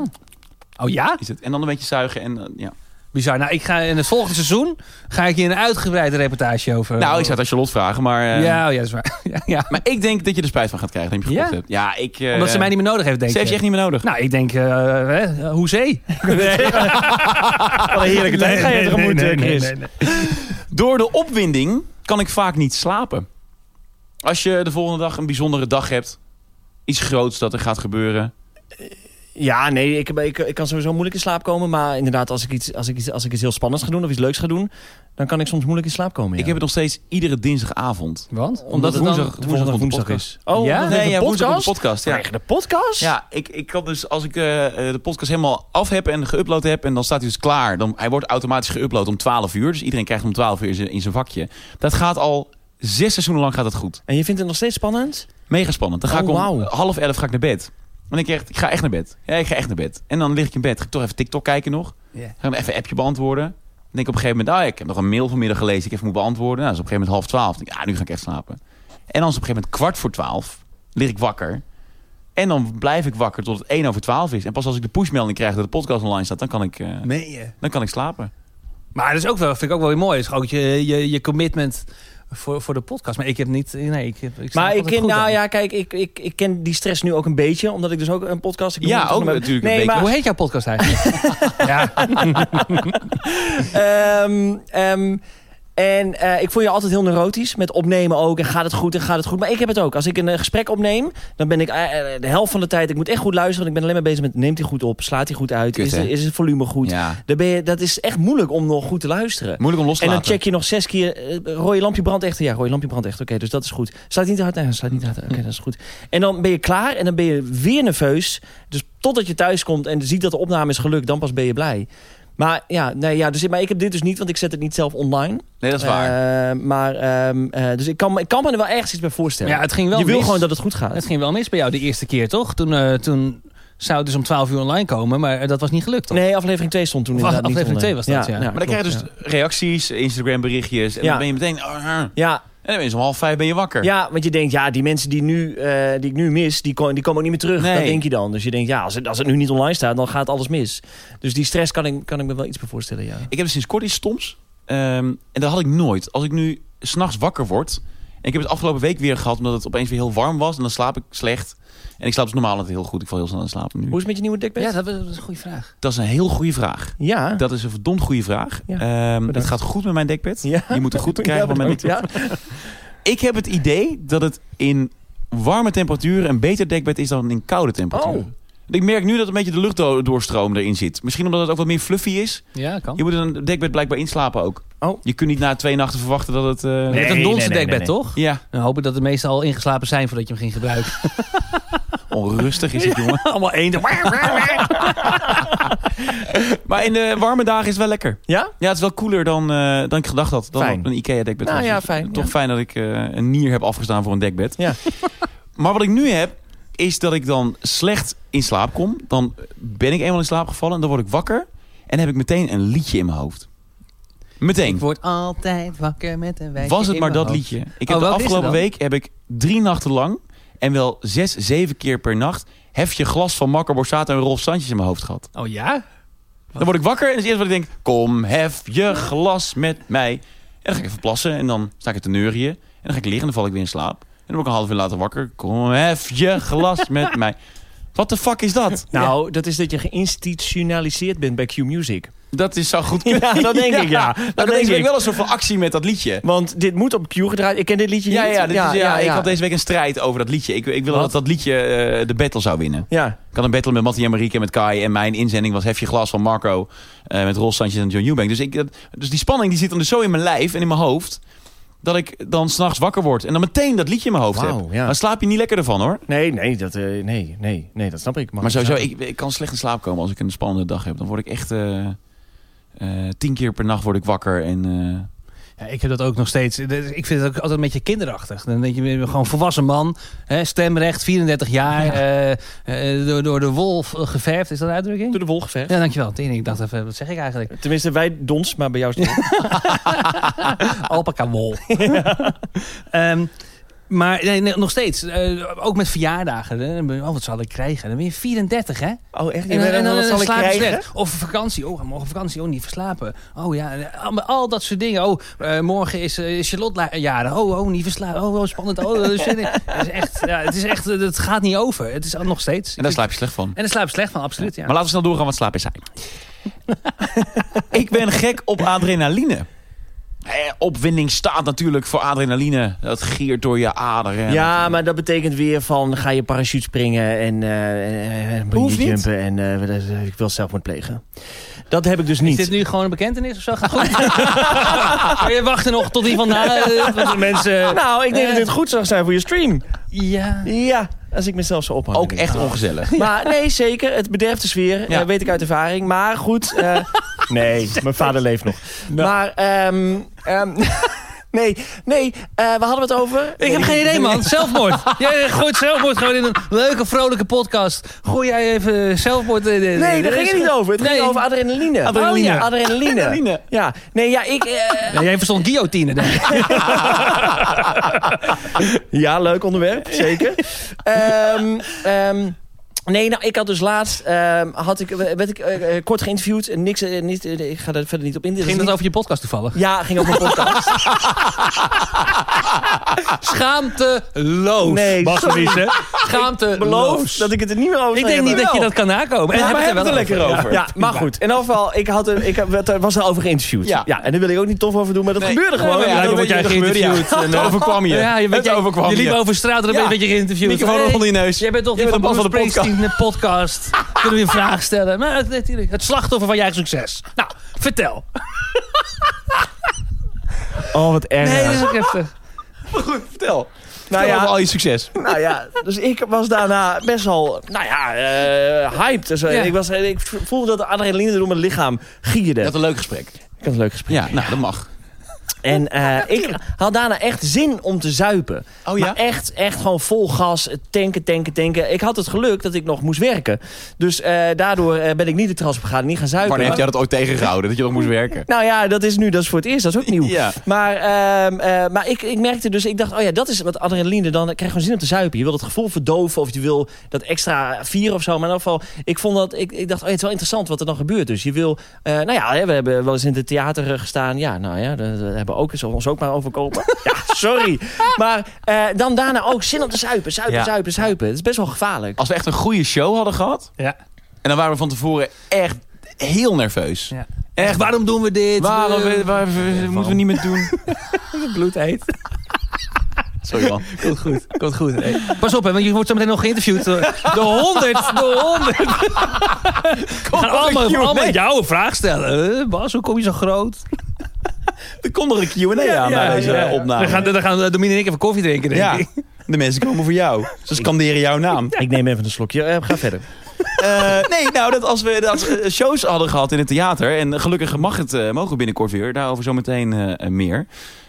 Ah. Oh ja? is het. En dan een beetje zuigen en eh, ja. Bizar. Nou, ik ga in het volgende seizoen ga ik hier een uitgebreide reportage over. nou, ik zou het aan Charlotte vragen, maar, eh, Eh. Ja, oh, ja, dat is waar. (laughs) ja, ja. maar ik denk dat je er spijt van gaat krijgen dat je hem Ja? gekocht hebt. Ja, ik... eh, Omdat ze mij niet meer nodig heeft, denk Ze ik. heeft je echt niet meer nodig. Nou, ik denk, eh hè, (laughs) hoezee. Wat een heerlijke tijd ga je tegemoet, eh, Chris. Door de opwinding kan ik vaak niet slapen. Als je de volgende dag een bijzondere dag hebt, iets groots dat er gaat gebeuren. Ja, nee, ik, ik, ik kan sowieso moeilijk in slaap komen. Maar inderdaad, als ik, iets, als, ik iets, als ik iets heel spannends ga doen of iets leuks ga doen... dan kan ik soms moeilijk in slaap komen, ja. Ik heb het nog steeds iedere dinsdagavond. Want? Omdat het dan- woensdag, woensdag, volgende woensdag woensdag is. Oh, Ja? ja? Nee, ja, de woensdag op podcast? de podcast. Ja. Vanwege de podcast? Ja, ik, ik kan dus als ik eh, eh, de podcast helemaal af heb en geüpload heb... en dan staat hij dus klaar. Dan, hij wordt automatisch geüpload om 12 uur. Dus iedereen krijgt om 12 uur in zijn- in zijn vakje. Dat gaat al zes seizoenen lang gaat dat goed. En je vindt het nog steeds spannend? Mega spannend. Dan ga Oh, ik om wauw. half elf ga ik naar bed. En ik, echt, ik ga echt naar bed. Ja, ik ga echt naar bed. En dan lig ik in bed. Ga ik toch even TikTok kijken nog. Ja. Ga ik even een appje beantwoorden. Dan denk ik op een gegeven moment... ah, ik heb nog een mail vanmiddag gelezen. die Ik even moet beantwoorden. Nou, dat is op een gegeven moment half twaalf. Dan denk ik, ah, nu ga ik echt slapen. En dan is op een gegeven moment kwart voor twaalf. Lig ik wakker. En dan blijf ik wakker tot het 1 over 12 is. En pas als ik de pushmelding krijg dat de podcast online staat, dan kan ik, eh, Meen je? dan kan ik slapen. Maar dat is ook wel, vind ik ook wel weer mooi. Het is ook je, je, je commitment voor, voor de podcast. Maar ik heb niet... Nee, ik, heb, ik slaap Maar ik altijd ken, goed nou dan. ja, kijk, ik, ik, ik ken die stress nu ook een beetje. Omdat ik dus ook een podcast... Ik noem Ja, het toch ook nog maar- natuurlijk een nee, beetje. Maar, Hoe heet jouw (laughs) podcast eigenlijk? ja. Ehm, ehm, En eh, ik voel je altijd heel neurotisch. Met opnemen ook. En gaat het goed en gaat het goed. Maar ik heb het ook. Als ik een eh, gesprek opneem, dan ben ik eh, eh, de helft van de tijd... Ik moet echt goed luisteren. Want ik ben alleen maar bezig met... Neemt hij goed op? Slaat hij goed uit? Kut, is, hè? is het volume goed? Ja. Dan ben je, dat is echt moeilijk om nog goed te luisteren. Moeilijk om los te En dan laten. check je nog zes keer, eh, rode lampje brandt echt. Ja, rode lampje brandt echt. Oké, dus dat is goed. Staat niet te hard? Nee, staat niet te hard. Oké, dat is goed. En dan ben je klaar en dan ben je weer nerveus. Dus totdat je thuis komt en ziet dat de opname is gelukt, dan pas ben je blij. Maar ja, nee, ja dus, maar ik heb dit dus niet, want ik zet het niet zelf online. Nee, dat is waar. Eh, maar, ehm, eh, dus ik kan, ik kan me er wel ergens iets bij voorstellen. Ja, het ging wel je wil mis. gewoon dat het goed gaat. Het ging wel mis bij jou de eerste keer, toch? Toen, eh, toen zou het dus om 12 uur online komen, maar eh, dat was niet gelukt, toch? Nee, aflevering 2 stond toen Of inderdaad aflevering niet twee online. was dat, ja. Maar dan krijg je dus reacties, Instagram berichtjes. En Ja. dan ben je meteen... ah, ah. en ja, dan ben je zo om half vijf ben je wakker. Ja, want je denkt, ja, die mensen die, nu, eh, die ik nu mis, die, ko- die komen ook niet meer terug. Nee. Dat denk je dan. Dus je denkt, ja, als het, als het nu niet online staat, dan gaat alles mis. Dus die stress kan ik, kan ik me wel iets bij voorstellen, ja. Ik heb dus sinds kort iets stoms. Ehm, en dat had ik nooit. Als ik nu s'nachts wakker word... En ik heb het afgelopen week weer gehad, omdat het opeens weer heel warm was. En dan slaap ik slecht. En ik slaap dus normaal altijd heel goed. Ik val heel snel in slaap nu. Hoe is het met je nieuwe dekbed? Ja, dat was dat was een goede vraag. Dat is een heel goede vraag. ja. Dat is een verdomd goede vraag. Ja, Ehm, het bedankt. gaat goed met mijn dekbed. Ja. Je moet er (laughs) goed te krijgen, Ja, maar mij niet. bedankt. ja. Ik heb het idee dat het in warme temperaturen een beter dekbed is dan in koude temperaturen. Oh. Ik merk nu dat een beetje de luchtdoorstroom erin zit. Misschien omdat het ook wat meer fluffy is. Ja, kan. Je moet een dekbed blijkbaar inslapen (laughs) ook. Oh. Je kunt niet na twee nachten verwachten dat het... eh, Je hebt Nee, een nee, donse nee, nee, dekbed, nee. toch? Ja, Nou, hopen dat de meesten al ingeslapen zijn voordat je hem ging gebruiken. onrustig is (laughs) het, jongen. Allemaal één. Maar in de warme dagen is het wel lekker. Ja? Ja, het is wel koeler dan, eh, dan ik gedacht had. Dan Fijn. op een IKEA-dekbed. Nou was. ja, Dus fijn, Toch ja. fijn dat ik eh, een nier heb afgestaan voor een dekbed. Ja. (laughs) maar wat ik nu heb, is dat ik dan slecht in slaap kom. Dan ben ik eenmaal in slaap gevallen en dan word ik wakker. En heb ik meteen een liedje in mijn hoofd. Ik Meteen. word altijd wakker met een wijsje Was het in maar mijn dat hoofd. liedje. Ik Oh, heb de welk is afgelopen het dan? week heb ik drie nachten lang... en wel zes, zeven keer per nacht... hef je glas van Marco Borsato en Rolf Sanchez in mijn hoofd gehad. Oh ja? Dan word ik wakker en dat is eerst wat ik denk... Kom, hef je glas met mij. En dan ga ik even plassen en dan sta ik te neurieën. En dan ga ik liggen en dan val ik weer in slaap. En dan word ik een half uur later wakker. Kom, hef je glas met mij. Wat de fuck is dat? Nou, dat is dat je geïnstitutionaliseerd bent bij Q-Music. Dat is zo goed (laughs) (laughs) Ja, dat denk ik, (laughs) ja. Nou, Maar Dat ik had denk deze week ik. wel een soort van actie met dat liedje. Want dit moet op Q gedraaid. Ik ken dit liedje Ja, niet. ja, dit is- ja, ik ja. had deze week een strijd over dat liedje. Ik, ik wilde Wat? dat dat liedje eh, de battle zou winnen. Ja. Ik had een battle met Mattie en Marieke en met Kai. En mijn inzending was Hef je glas van Marco. eh, met Ros Sanchez en John Newbank. Dus, ik, dat- dus die spanning die zit dan dus zo in mijn lijf en in mijn hoofd. Dat ik dan s'nachts wakker word. En dan meteen dat liedje in mijn hoofd Wauw, heb. ja. Dan slaap je niet lekker ervan hoor. Nee, nee, dat, eh, nee, nee, nee, dat snap ik. Mag Maar sowieso, snap ik, ik kan slecht in slaap komen als ik een spannende dag heb. Dan word ik echt... eh, eh, tien keer per nacht word ik wakker. En, eh, Ja, ik heb dat ook nog steeds. Dus Ik vind het ook altijd een beetje kinderachtig. Dan denk je, je bent gewoon volwassen man, hè, stemrecht, 34 jaar, eh, eh, door, door de wolf eh, geverfd. Is dat een uitdrukking? Door de wol geverfd. Ja, dankjewel. Tering, ik dacht even, wat zeg ik eigenlijk? Tenminste, wij dons, maar bij jou is het (laughs) Alpaca wol. Ehm, maar nee, nee, nog steeds, eh, ook met verjaardagen. hè. Dan ben je, Oh, wat zal ik krijgen? Dan ben je 34, hè? (laughs) Oh, echt? En, dan- en dan, wat zal ik slaap je krijgen? slecht. Of vakantie. Oh, morgen vakantie. Oh, niet verslapen. Oh ja, en al, al dat soort dingen. Oh, eh, morgen is eh, Charlotte la- jaren. Oh, oh, niet verslapen. Oh, oh, spannend. Oh, dat is zin in. (laughs) Het is echt, ja, het is echt, eh, het gaat niet over. Het is al nog steeds. en daar slaap je slecht van. En daar slaap ik slecht van, absoluut. Ja. Maar laten we snel doorgaan, want slaap is saai. (laughs) ik ben gek op adrenaline. Eh, opwinding staat natuurlijk voor adrenaline. Dat giert door je aderen. Ja, maar dat betekent weer van ga je parachute springen en eh, eh Hoeft niet. jumpen en eh, ik wil zelfmoord plegen. Dat heb ik dus niet. Is dit nu gewoon een bekentenis of zo? Gaat goed. (laughs) Maar je wacht nog tot iemand na. eh, want de mensen. (laughs) Nou, ik denk dat dit goed zou zijn voor je stream. Ja. Ja, als ik mezelf zo ophang. Ook echt ongezellig. Maar nee, zeker. Het bederft de sfeer. Ja. eh, weet ik uit ervaring. Maar goed. eh, nee, mijn vader leeft nog. (laughs) Maar, ehm, ehm, (laughs) nee, nee. eh, we hadden het over. Ik heb geen idee, (laughs) man. Zelfmoord. Jij gooit zelfmoord gewoon in een leuke, vrolijke podcast. Gooi jij even zelfmoord in. Nee, daar ging het niet over. Het ging over adrenaline. Adrenaline. Oh ja, adrenaline. Adrenaline. Ja, nee, ja, ik... (laughs) eh, Ja, jij verstond guillotine, denk ik. (laughs) Ja, leuk onderwerp, zeker. Ehm, ehm, Nee, nou, ik had dus laatst, ehm, had ik, werd ik eh, eh, kort geïnterviewd. Niks, eh, niet, eh, ik ga daar verder niet op in. Dit is Ging dat niet- over je podcast toevallig? Ja, ging (laughs) over een podcast. Schaamteloos. Nee, Bas sorry. Louise. Schaamteloos. Beloof dat ik het er niet meer over Ik zou denk niet hebben. dat je dat kan nakomen. En Ja, heb maar ik hebben wel we het er lekker over. Ja, maar goed. In elk geval, ik, had een, ik werd er- was daarover geïnterviewd. Ja. Ja. en daar wil ik ook niet tof over doen, maar dat Nee. gebeurde gewoon. Nee, maar Ja, dan dat word weet jij je, (laughs) dat gebeurde, ja. geïnterviewd. en, eh, Het overkwam je. Ja, je, bent, Het overkwam je liep je. over straat en dan Ja. ben je een beetje geïnterviewd. Microfoon Hey, onder je neus. Jij bent toch Jij die van bent Bruce de man van de Springsteen de podcast. Kunnen we een vraag stellen? Maar, het- natuurlijk, het slachtoffer van je eigen succes. Nou, vertel. Oh, wat erg. Nee, dat is ook eh, heftig. Vertel. nou, Vertel over ja, al je succes. nou ja, dus ik was daarna best wel, nou ja, eh, hyped. Dus, eh, Ja. ik, was, ik voelde dat de adrenaline door mijn lichaam gierde. Dat een leuk gesprek. Ik had een leuk gesprek. Ja, nou, dat mag. En eh, ik had daarna echt zin om te zuipen. Oh ja? Maar echt, echt gewoon vol gas, tanken, tanken, tanken. Ik had het geluk dat ik nog moest werken. Dus eh, daardoor eh, ben ik niet de terras op gegaan, niet gaan zuipen. Wanneer heb Maar- jij dat ooit tegengehouden? Dat je nog moest werken? Nou ja, dat is nu, dat is voor het eerst, dat is ook (laughs) nieuw. Ja. Maar, ehm, eh, maar ik, ik merkte dus, ik dacht, oh ja, dat is wat adrenaline, dan krijg je gewoon zin om te zuipen. Je wil het gevoel verdoven of je wil dat extra vieren of zo. Maar in elk geval, ik vond dat, ik, ik dacht, oh ja, het is wel interessant wat er dan gebeurt. Dus je wil, eh, nou ja, hè, we hebben wel eens in het theater eh, gestaan. Ja, nou ja, dat, dat hebben we ook, is ons ook maar (laughs) overkomen. ja, sorry. Maar eh, dan daarna ook zin om te zuipen, zuipen, Ja. zuipen, zuipen. Het is best wel gevaarlijk. Als we echt een goede show hadden gehad... Ja. en dan waren we van tevoren echt heel nerveus. Ja. Echt, Echt, waarom doen we dit? waarom Eh, we- waar- we- moeten we niet meer doen? bloed heet? Sorry man. Komt goed, komt goed. Hey, Pas op, hè, want je wordt zo meteen nog geïnterviewd. eh, De honderd, de honderd. Gaan allemaal, Q&A. allemaal jou een vraag stellen. Eh, Bas, hoe kom je zo groot? (laughs) Er komt nog een Q&A ja, aan bij deze ja. opname. Dan gaan, dan gaan eh, Dominique en ik even koffie drinken, denk (laughs) ja. ik. De mensen komen voor jou. Ze scanderen jouw naam. Ik neem even een slokje, Eh, ga verder. Eh, nee, nou, dat als we dat we shows hadden gehad in het theater... en gelukkig mag het, eh, mogen we binnenkort weer, daarover zometeen eh, meer...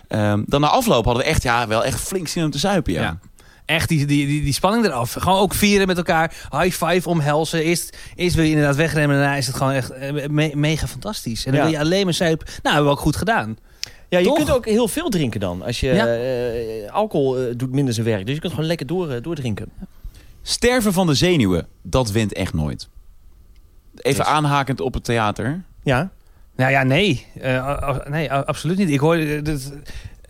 Ehm, dan na afloop hadden we echt, ja, wel echt flink zin om te zuipen, ja. Ja. Echt die, die, die, die spanning eraf. Gewoon ook vieren met elkaar. High five omhelzen. Eerst, eerst wil je inderdaad wegrennen. En daarna is het gewoon echt eh, me- mega fantastisch. En dan Ja. wil je alleen maar zuip. Nou, hebben we ook goed gedaan. Ja, je Toch? kunt ook heel veel drinken dan. Als je, Ja. eh, alcohol eh, doet minder zijn werk. Dus je kunt gewoon lekker door, eh, doordrinken. Sterven van de zenuwen, dat wint echt nooit. Even Yes. aanhakend op het theater. Ja. Nou ja, nee. Eh, a- a- nee, a- absoluut niet. Ik hoor... eh, dat-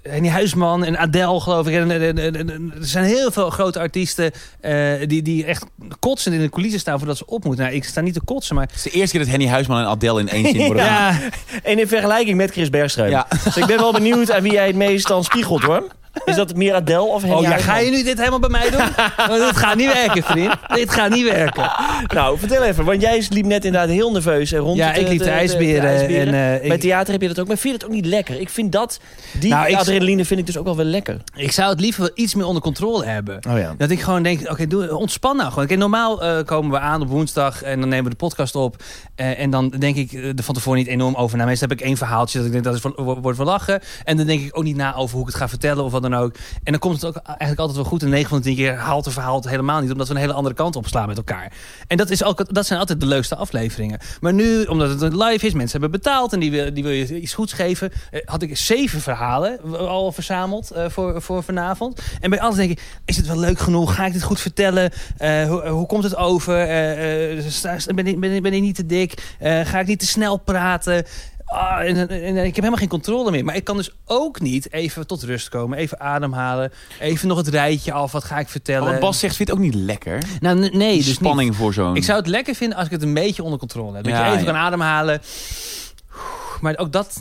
Henny Huisman en Adele, geloof ik. En, en- en- en- en- er zijn heel veel grote artiesten eh, die, die echt kotsend in de coulissen staan voordat ze op moeten. Nou, ik sta niet te kotsen, maar... Het is de eerste keer dat Henny Huisman en Adele in één zin worden. genoemd. (laughs) Ja, En in vergelijking met Chris Bergström. Ja. Dus ik ben wel benieuwd aan wie jij het meest dan spiegelt hoor. Is dat meer Adele of Henny Oh ja, Huisman? ga je nu dit helemaal bij mij doen? Want dit gaat niet werken, vriend. Dit gaat niet werken. Nou, vertel even. Want jij liep net inderdaad heel nerveus eh, rond. Ja, het, ik eh, liep de ijsberen en, eh, ik- Bij theater heb je dat ook. Maar vind je dat ook niet lekker? Ik vind dat... Die Nou, ik- adrenaline vind ik dus ook wel wel lekker. Ik zou het liever wel iets meer onder controle hebben. Oh ja. Dat ik gewoon denk, oké, doe- ontspan nou gewoon. Kijk, normaal eh, komen we aan op woensdag en dan nemen we de podcast op. Eh, en dan denk ik eh, er van tevoren niet enorm over na. Meestal heb ik één verhaaltje dat ik denk, dat is voor, wo- wordt voor lachen. En dan denk ik ook niet na over hoe ik het ga vertellen of wat dan ook. En dan komt het ook eigenlijk altijd wel goed. En 9 van de 10 keer haalt een verhaal het helemaal niet. Omdat we een hele andere kant opslaan met elkaar. En dat, is ook, dat zijn altijd de leukste afleveringen. Maar nu, omdat het live is, mensen hebben betaald en die wil, die wil je iets goeds geven. eh, had ik zeven verhalen w- al verzameld eh, voor, voor vanavond. En bij alles denk ik, is het wel leuk genoeg? Ga ik dit goed vertellen? Eh, hoe, hoe komt het over? Eh, eh, sta- sta- ben, ik, ben, ik, ben ik niet te dik? Eh, ga ik niet te snel praten? Ah, en, en- en ik heb helemaal geen controle meer. Maar ik kan dus ook niet even tot rust komen. Even ademhalen. Even nog het rijtje af. Wat ga ik vertellen? Wat Oh, Bas zegt, vindt het ook niet lekker. nou, n- nee, Die dus niet. spanning voor zo'n... Ik zou het lekker vinden als ik het een beetje onder controle heb. Dat Ja, je even ja. kan ademhalen. Maar ook dat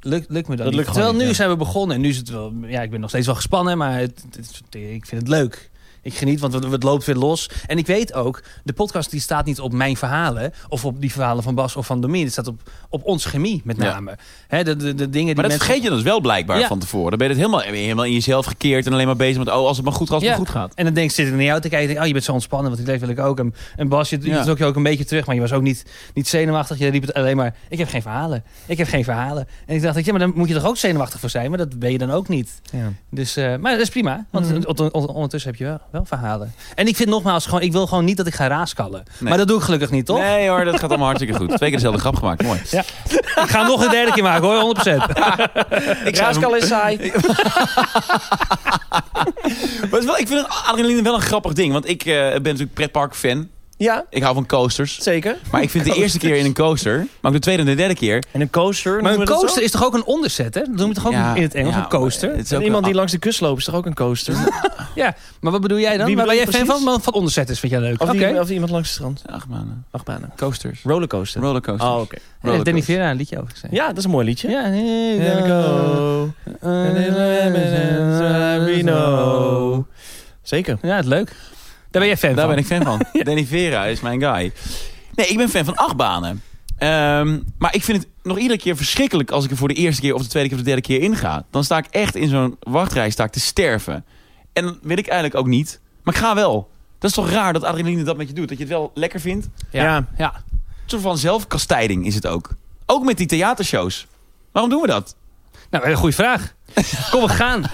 lukt, lukt me dan Dat lukt niet. gewoon Terwijl niet, nu ja. zijn we begonnen. En nu is het wel... Ja, ik ben nog steeds wel gespannen. Maar het, het is- ik vind het leuk. Ik geniet, want het, het loopt weer los. En ik weet ook, de podcast die staat niet op mijn verhalen. Of op die verhalen van Bas of van Domien. Het staat op, op ons chemie, met Ja. name. Hè, de, de, de dingen maar die dat mensen... vergeet je dus wel blijkbaar Ja. van tevoren. Dan ben je, het helemaal, ben je helemaal in jezelf gekeerd en alleen maar bezig met... oh, als het maar goed gaat, als het Ja. maar goed gaat. En dan denk, ik, zit ik naar jou te kijken. Denk, ik, oh, je bent zo ontspannen, want ik leef wil ik ook. En, en Bas, je, je Ja. trok je ook een beetje terug. Maar je was ook niet, niet zenuwachtig. Je riep het alleen maar, ik heb geen verhalen. Ik heb geen verhalen. En ik dacht, ja, maar dan moet je toch ook zenuwachtig voor zijn. Maar dat ben je dan ook niet. Ja. Dus, eh, maar dat is prima. Want Mhm. on- on- ondertussen heb je wel, wel verhalen. En ik vind nogmaals, gewoon, ik wil gewoon niet dat ik ga raaskallen. Nee. Maar dat doe ik gelukkig niet, toch? Nee hoor, dat gaat allemaal hartstikke goed. Twee keer dezelfde grap gemaakt, mooi. Ik ga hem nog een derde keer maken, hoor. 100%. (laughs) Ik zou hem- Raaskal is saai. Maar het is wel, ik vind het adrenaline wel een grappig ding. Want ik eh, ben natuurlijk pretpark-fan. Ja, Ik hou van coasters. zeker. Maar ik vind (laughs) de eerste keer in een coaster, maar ook de tweede en de derde keer... En een coaster. Maar noemen een we dat zo? coaster is toch ook een onderzet, hè? Dat noem je toch ook Ja, in het Engels, ja, een coaster? maar het is En ook iemand een- die langs de kust loopt is toch ook een (laughs) coaster? ja, maar wat bedoel jij dan? Wie Waar ben bedoel je jij fan van? precies? Maar Van onderzetters vind jij leuk. Of, Oké. die, of die iemand langs het strand. Ach man, Achtbanen. coasters. Rollercoaster. Rollercoasters. Oh, oké. Ja, Eh, Danny rollercoaster. Vera een liedje over gezegd. Ja, dat is een mooi liedje. Ja, nee, There we go. We know. Zeker. Ja, het is leuk. Daar ben jij fan Daar van. ben ik fan (laughs) van. Danny Vera is mijn guy. Nee, ik ben fan van achtbanen. Ehm, maar ik vind het nog iedere keer verschrikkelijk als ik er voor de eerste keer of de tweede keer of de derde keer in ga. Dan sta ik echt in zo'n wachtrij sta ik te sterven. En dan wil ik eigenlijk ook niet. Maar ik ga wel. Dat is toch raar dat adrenaline dat met je doet. Dat je het wel lekker vindt. Ja. Ja. ja. Een soort van zelfkastijding is het ook. Ook met die theatershows. Waarom doen we dat? Nou, een goede vraag. Kom, we gaan.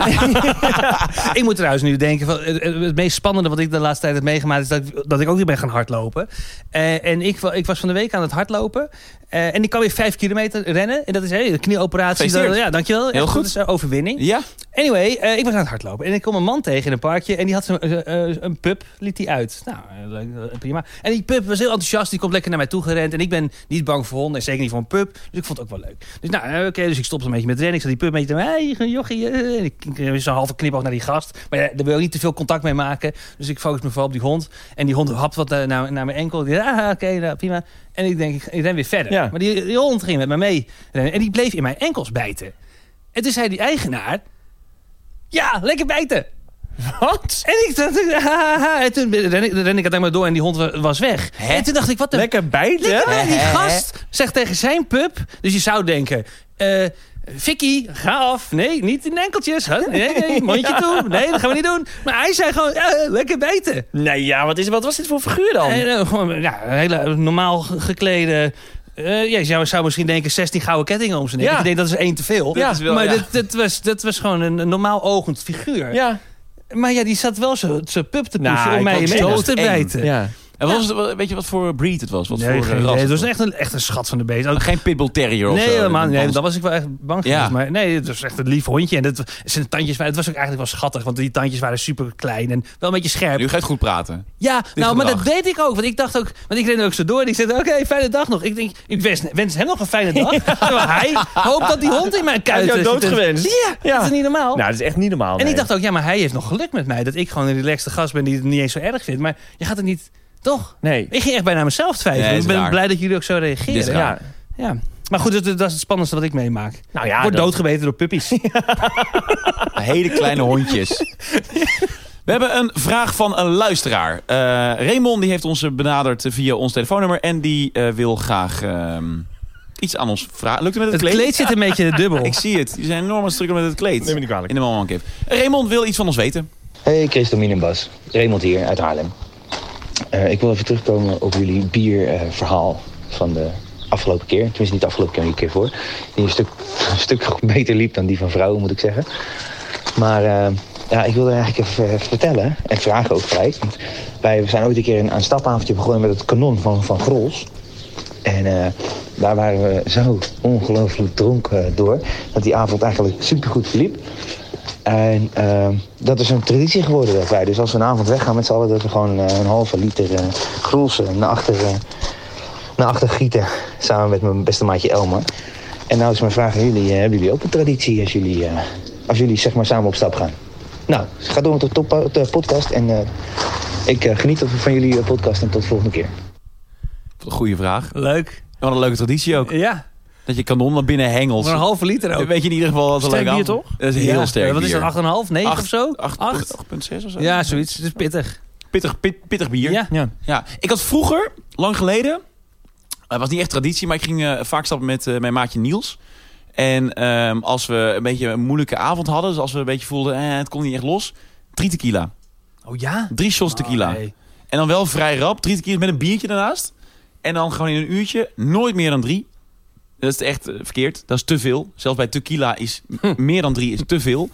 (laughs) ik moet trouwens nu denken, van, het, het meest spannende wat ik de laatste tijd heb meegemaakt... is dat ik, dat ik ook weer ben gaan hardlopen. Eh, en ik, wa- ik was van de week aan het hardlopen. eh, en ik kan weer vijf kilometer rennen. En dat is hey, een knieoperatie. Gefeliciteerd. Dat- ja, dankjewel. Heel Echt, goed. Dat is een overwinning. Ja? Anyway, eh, ik was aan het hardlopen en ik kom een man tegen in een parkje en die had zo'n, eh, eh, een pub, liet hij uit. Nou, eh, leuk, eh, prima. En die pub was heel enthousiast, die komt lekker naar mij toe gerend en ik ben niet bang voor honden en zeker niet voor een pub, dus ik vond het ook wel leuk. Dus nou, eh, oké, dus ik stopte een beetje met rennen, ik zat die pub een beetje, hé, hey, jochie, eh." en ik eh, zo'n halve knipoog naar die gast, maar ja, daar wil ik niet te veel contact mee maken, dus ik focus me vooral op die hond en die hond hapt wat eh, naar, naar mijn enkel. Ik dacht, ah, oké, nou, prima. En ik denk, ik, ik ren weer verder. Ja. Maar die, die hond ging met me mee rennen en die bleef in mijn enkels bijten. En toen zei die eigenaar... Ja, lekker bijten. Wat? En ik dacht... (laughs) ah, ah, ah. En toen ren ik, ren ik het maar door en die hond wa- was weg. En toen dacht ik, wat een... Lekker bijten. lekker bij die Hè, hè, hè. gast zegt tegen zijn pup... Dus je zou denken... eh Vicky, ga af. Nee, niet in de enkeltjes. Huh? Nee, (laughs) nee, mondje toe. Nee, dat gaan we niet doen. Maar hij zei gewoon, eh, lekker bijten. Nou ja, wat, is, wat was dit voor figuur dan? En, eh, gewoon ja, een hele normaal ge- geklede... eh, ja, je zou, zou misschien denken 16 gouden kettingen om zijn nek. Ja. Ik denk dat is één te veel. Ja, dat is wel- maar ja. dit, dit was, dit was gewoon een, een normaal ogend figuur. ja. Maar ja, die zat wel zo- zijn pup te Nou, pushen om ik mij vond in het mijn doodeng. te bijten. ja. En wat was het, weet je wat voor breed het was? Wat Nee, voor geen eh, idee. ras? het was was? echt een, echt een schat van de beest. Ook- Geen pitbull terrier of nee, zo. helemaal niet. Nee, Dan- dan was ik wel echt bang Ja. geweest. Maar nee, het was echt een lief hondje. En dat, zijn tandjes waren, het was ook eigenlijk wel schattig. Want die tandjes waren super klein en wel een beetje scherp. Nu ga je het goed praten. Ja, nou, maar dat gedrag. deed ik ook. Want ik dacht ook, want ik ren ook zo door. En ik zei, oké, fijne dag nog. Ik denk, ik wens, wens hem nog een fijne dag. Terwijl hij hoopt dat die hond in mijn Hij kuit heeft jou zit. doodgewenst. Ja, dat is niet normaal. Nou, dat is echt niet normaal. En nee. ik dacht ook, ja, maar hij heeft nog geluk met mij. Dat ik gewoon een relaxte gast ben die het niet eens zo erg vindt. Maar je gaat het niet... Toch? Nee. Ik ging echt bijna mezelf twijfelen. Nee, is ik ben raar. blij dat jullie ook zo reageren. Dit is ja. raar. Ja. ja. Maar goed, dat, dat is het spannendste wat ik meemaak. Nou ja, Wordt dat- doodgebeten door (laughs) puppies. Hele kleine hondjes. We hebben een vraag van een luisteraar. Eh, Raymond die heeft ons eh, benaderd via ons telefoonnummer. En die eh, wil graag ehm, iets aan ons vragen. Lukt het met het, het kleed zit een beetje (laughs) dubbel. Ik zie het. Die zijn enorm aan het struggelen met het kleed. Neem me niet kwalijk. In de Mamankeef. Raymond wil iets van ons weten. Hey Chris, Domien en Bas. Raymond hier uit Haarlem. Eh, ik wil even terugkomen op jullie bierverhaal van de afgelopen keer. Tenminste, niet de afgelopen keer, maar die keer voor. Die een stuk, (laughs) een stuk beter liep dan die van vrouwen, moet ik zeggen. Maar eh, ja, ik wilde eigenlijk even eh, vertellen en vragen ook gelijk. Want wij zijn ooit een keer een, een stapavondje begonnen met het kanon van, van Grols. En eh, daar waren we zo ongelooflijk dronken door. Dat die avond eigenlijk supergoed verliep. En eh, dat is een traditie geworden dat wij. Dus als we een avond weggaan met z'n allen, dat we gewoon eh, een halve liter eh groels eh, naar achter, eh, naar achter gieten. Samen met mijn beste maatje Elmer. En nou is mijn vraag aan jullie, eh, hebben jullie ook een traditie als jullie, eh, als jullie zeg maar samen op stap gaan? Nou, ga door met de, top, de podcast en eh, ik eh, geniet van jullie eh, podcast en tot de volgende keer. Goeie vraag. Leuk. Wat een leuke traditie ook. Ja, Dat je kanon naar binnen hengelt. voor een halve liter ook. Dan weet je in ieder geval wat een Sterk leuke bier, avond- toch? Dat is heel Ja. sterk Wat is bier. dat, 8,5, 9 Acht- of zo? acht- 8? 8,6 of zo? Ja, zoiets. Het is pittig. Pittig, pit- pittig bier. Ja. Ja. Ja, ik had vroeger, lang geleden, het was niet echt traditie, maar ik ging eh, vaak stappen met eh, mijn maatje Niels. En ehm, als we een beetje een moeilijke avond hadden, dus als we een beetje voelden, eh, het kon niet echt los, drie tequila. Oh ja? Drie shots tequila. Oh, nee. En dan wel vrij rap, drie tequila met een biertje daarnaast. En dan gewoon in een uurtje, nooit meer dan drie. Dat is echt eh, verkeerd, dat is te veel. Zelfs bij tequila is Hm. meer dan drie is te veel.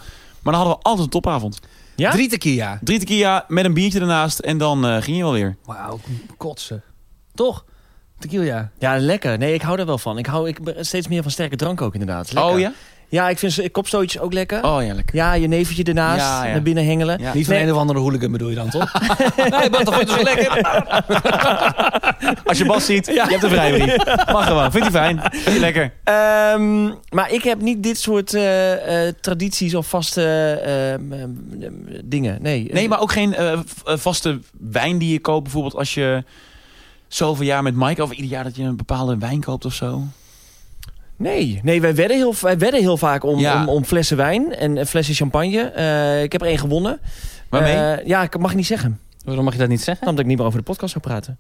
Maar dan hadden we altijd een topavond. Ja? Drie tequila. Drie tequila met een biertje daarnaast en dan eh, ging je wel weer. Wauw, kotsen. Toch? Tequila. Ja, lekker. Nee, ik hou daar wel van. Ik hou ik, ben steeds meer van sterke drank ook inderdaad. Lekker. Oh ja? Ja, ik vind ze- kopstootjes ook lekker. Oh, ja, lekker. Ja, je neventje ernaast, Ja, ja. naar binnen hengelen. Ja. Niet van Nee. een of andere hooligan bedoel je dan, (laughs) toch? nee, maar dat vind je toch lekker? Als je Bas (laughs) ziet, je hebt een vrijbrief. Mag gewoon. Vindt hij fijn. Vindt hij lekker. Ehm, maar ik heb niet dit soort eh, eh, tradities of vaste eh, ehm, ehm, dingen. Nee, Nee, maar ook geen eh, v- eh, vaste wijn die je koopt. Bijvoorbeeld als je zoveel jaar met Mike... of ieder jaar dat je een bepaalde wijn koopt of zo. nee. nee wij, wedden heel, wij wedden heel vaak om, Ja. om, om flessen wijn en eh, flessen champagne. Eh, ik heb er één gewonnen. Waarmee? Eh, ja, ik mag ik niet zeggen. Waarom mag je dat niet zeggen? Omdat ik niet meer over de podcast zou praten.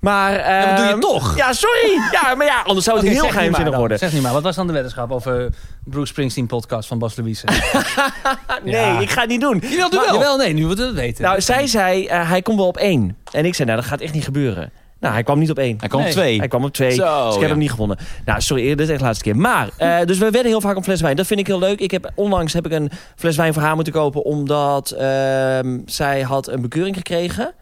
Maar... dat doe je ehm, toch? Ja, sorry. Ja, maar ja, anders zou het Oké, zeg heel niet maar geheimzinnig dan. worden. Zeg niet maar, wat was dan de weddenschap over Bruce Springsteen podcast van (laughs) Bas Louise? Ah, Nee, Ja. ik ga het niet doen. Jawel, doe Maar- wel. nee, nu moeten we dat weten. Nou, zij zei, eh, hij komt wel op één. En ik zei, nou, dat gaat echt niet gebeuren. Nou, hij kwam niet op één. Hij kwam Nee. op twee. Hij kwam op twee, Zo, Oh, dus ik heb ja. hem niet gewonnen. Nou, sorry, dit is echt de laatste keer. Maar, (laughs) eh, dus we werden heel vaak om fles wijn. Dat vind ik heel leuk. Ik heb, onlangs heb ik een fles wijn voor haar moeten kopen... omdat ehm, zij had een bekeuring gekregen.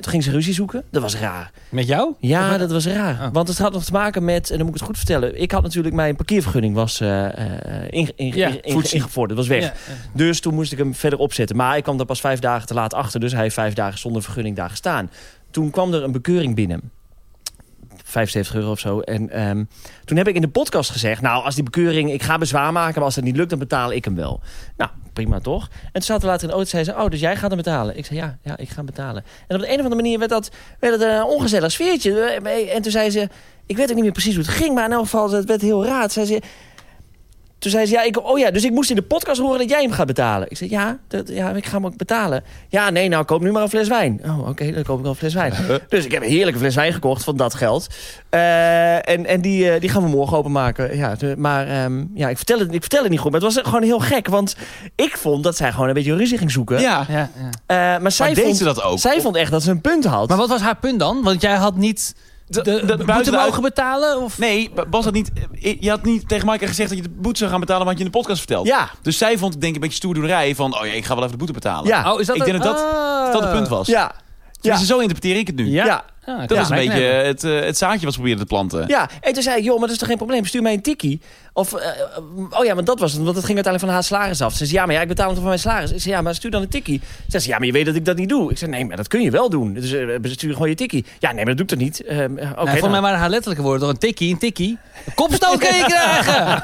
Toen ging ze ruzie zoeken. Dat was raar. Met jou? Ja, dat was raar. Ah. Want het had nog te maken met, en dan moet ik het goed vertellen... ik had natuurlijk, mijn parkeervergunning was eh eh, inge- inge- Ja, inge- voetsie. ingevorderd. Dat was weg. Ja, Dus toen moest ik hem verder opzetten. Maar ik kwam daar pas vijf dagen te laat achter. Dus hij heeft vijf dagen zonder vergunning daar gestaan. Toen kwam er een bekeuring binnen. 75 euro of zo. En ehm, toen heb ik in de podcast gezegd... nou, als die bekeuring... ik ga bezwaar maken, maar als dat niet lukt... dan betaal ik hem wel. Nou, prima toch? En toen zaten we later in de auto zei ze... oh, dus jij gaat hem betalen? Ik zei, ja, ja, ik ga hem betalen. En op de een of andere manier werd dat, werd dat een ongezellig sfeertje. En toen zei ze... ik weet ook niet meer precies hoe het ging... maar in elk geval, het werd heel raar. Toen zei ze, toen zei ze, ja, ik, oh ja, dus ik moest in de podcast horen dat jij hem gaat betalen. Ik zei, ja, dat, ja ik ga hem ook betalen. Ja, nee, nou, koop nu maar een fles wijn. Oh, oké, dan koop ik wel een fles wijn. Dus ik heb een heerlijke fles wijn gekocht van dat geld. Eh, en en die, eh, die gaan we morgen openmaken. Ja, de- maar ehm, ja, ik, vertel het, ik vertel het niet goed, maar het was gewoon heel gek. Want ik vond dat zij gewoon een beetje ruzie ging zoeken. Ja. ja, ja. Eh, maar zij, Maar deed vond, ze dat ook? zij vond echt dat ze een punt had. Maar wat was haar punt dan? Want jij had niet de, de boete buitenuit- mogen betalen? Of? Nee, Ba- Bas had niet... eh, Je had niet tegen Maaike gezegd dat je de boete zou gaan betalen... wat je in de podcast vertelt. Ja. Dus zij vond het denk ik een beetje stoerdoenerij van... oh ja, ik ga wel even de boete betalen. Ja. Oh, is dat Ah. Ik denk dat dat- Dat dat het punt was. ja, ja, Tenminste, zo interpreteer ik het nu. Ja. ja. dat Dat was een beetje het, eh, het zaadje wat ze probeerden te planten. Ja, en toen zei ik, joh, maar dat is toch geen probleem, stuur mij een tikkie. Of, eh, eh, oh ja, want dat was het, want dat ging uiteindelijk van haar salaris af. Ze zei, ja, maar ja, ik betaal het van mijn salaris. Ik zei, ja, maar stuur dan een tikkie. Ze zei, ja, maar je weet dat ik dat niet doe. Ik zei, nee, maar dat kun je wel doen. Dus eh, stuur gewoon je tikkie. Ja, nee, maar dat doe ik toch niet? Ehm, eh, oké, voor dan. mij waren haar letterlijke woorden toch een tikkie, een tikkie. Kopstoot (laughs) kun je krijgen!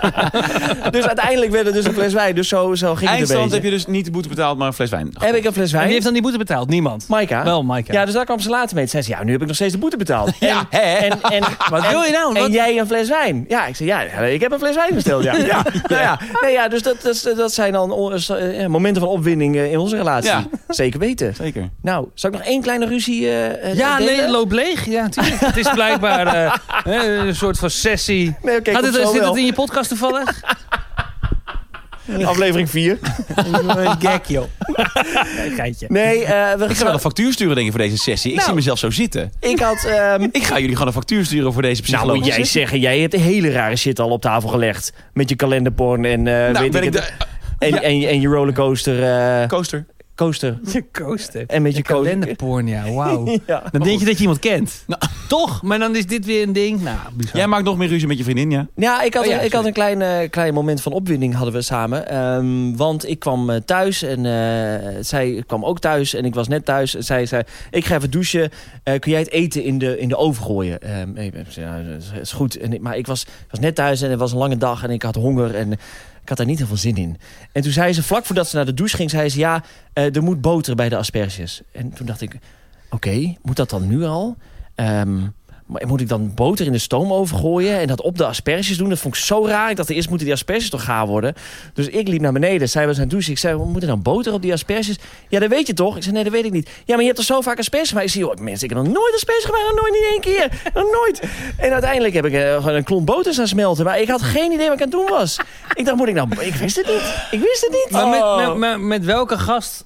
Dus uiteindelijk werd het dus een fles wijn. Dus zo, zo ging het een Eindstand beetje. heb je dus niet de boete betaald, maar een fles wijn. Heb ik een fles En wijn? wie heeft dan die boete betaald? Niemand. Maika. Wel, Maaike. Ja, dus daar kwam ze later mee. Toen zei ze, ja, nu heb ik nog steeds de boete betaald. Ja, hè? En, en, Wat wil je nou? En Wat- jij een fles wijn? Ja, ik zei, ja, ik heb een fles wijn besteld. Ja, ja. Nou ja, nee, ja dus dat, dat, dat zijn dan o- eh, momenten van opwinding eh, in onze relatie. Ja. (laughs) Zeker weten. Zeker. Nou, zou ik nog één kleine ruzie eh, eh, ja, delen? nee, loop leeg. Ja, natuurlijk. het is blijkbaar (laughs) eh, eh, een soort van sessie. Nee, oké, Gaat komt Ah, dit, zo zit wel. dat in je podcast toevallig? (laughs) Aflevering 4. Een gek, joh. Geitje. Nee, eh, we Ik ga wel een factuur sturen denk ik voor deze sessie. Ik Nou. zie mezelf zo zitten. ik had... ehm, Ik ga jullie gewoon een factuur sturen voor deze nou, psycholoog. moet jij zeggen, jij hebt hele rare shit al op tafel gelegd. Met je kalenderporn en, eh, Nou, weet ben ik ik, het- de en, en, en je rollercoaster eh, coaster. coaster. Je coaster. En met je coaster. kalenderporn, ja, wauw. Ja. Dan denk je dat je iemand (laughs) kent. Toch? Maar dan is dit weer een ding. Nou, bizar. Jij maakt nog meer ruzie met je vriendin, ja? Ja, ik had, Oh ja, ik had sorry. een klein, eh, klein moment van opwinding hadden we samen. Ehm, want ik kwam eh, thuis en eh, zij kwam ook thuis en ik was net thuis. En zij zei, ik ga even douchen. Eh, kun jij het eten in de, in de oven gooien? Ehm, ik zei, ja, dat is- dat is goed. En ik- maar ik was, ik was net thuis en het was een lange dag en ik had honger. En ik had daar niet heel veel zin in. En toen zei ze, vlak voordat ze naar de douche ging, zei ze... ja, eh, er moet boter bij de asperges. En toen dacht ik, oké, moet dat dan nu al? Ehm, maar moet ik dan boter in de stoomoven gooien en dat op de asperges doen? Dat vond ik zo raar. Ik dacht, eerst moeten die asperges toch gaar worden? Dus ik liep naar beneden. Zij was aan het douchen. Ik zei, we moeten dan boter op die asperges? Ja, dat weet je toch? Ik zei, nee, dat weet ik niet. Ja, maar je hebt toch zo vaak asperges gemaakt? Ik zie, joh, mensen, ik heb nog nooit asperges gemaakt. Nog nooit, niet één keer. Nog nooit. En uiteindelijk heb ik eh, gewoon een klomp boters aan smelten. Maar ik had geen idee wat ik aan het doen was. Ik dacht, moet ik nou... Ik wist het niet. Ik wist het niet. Maar Oh. met, met, met, met welke gast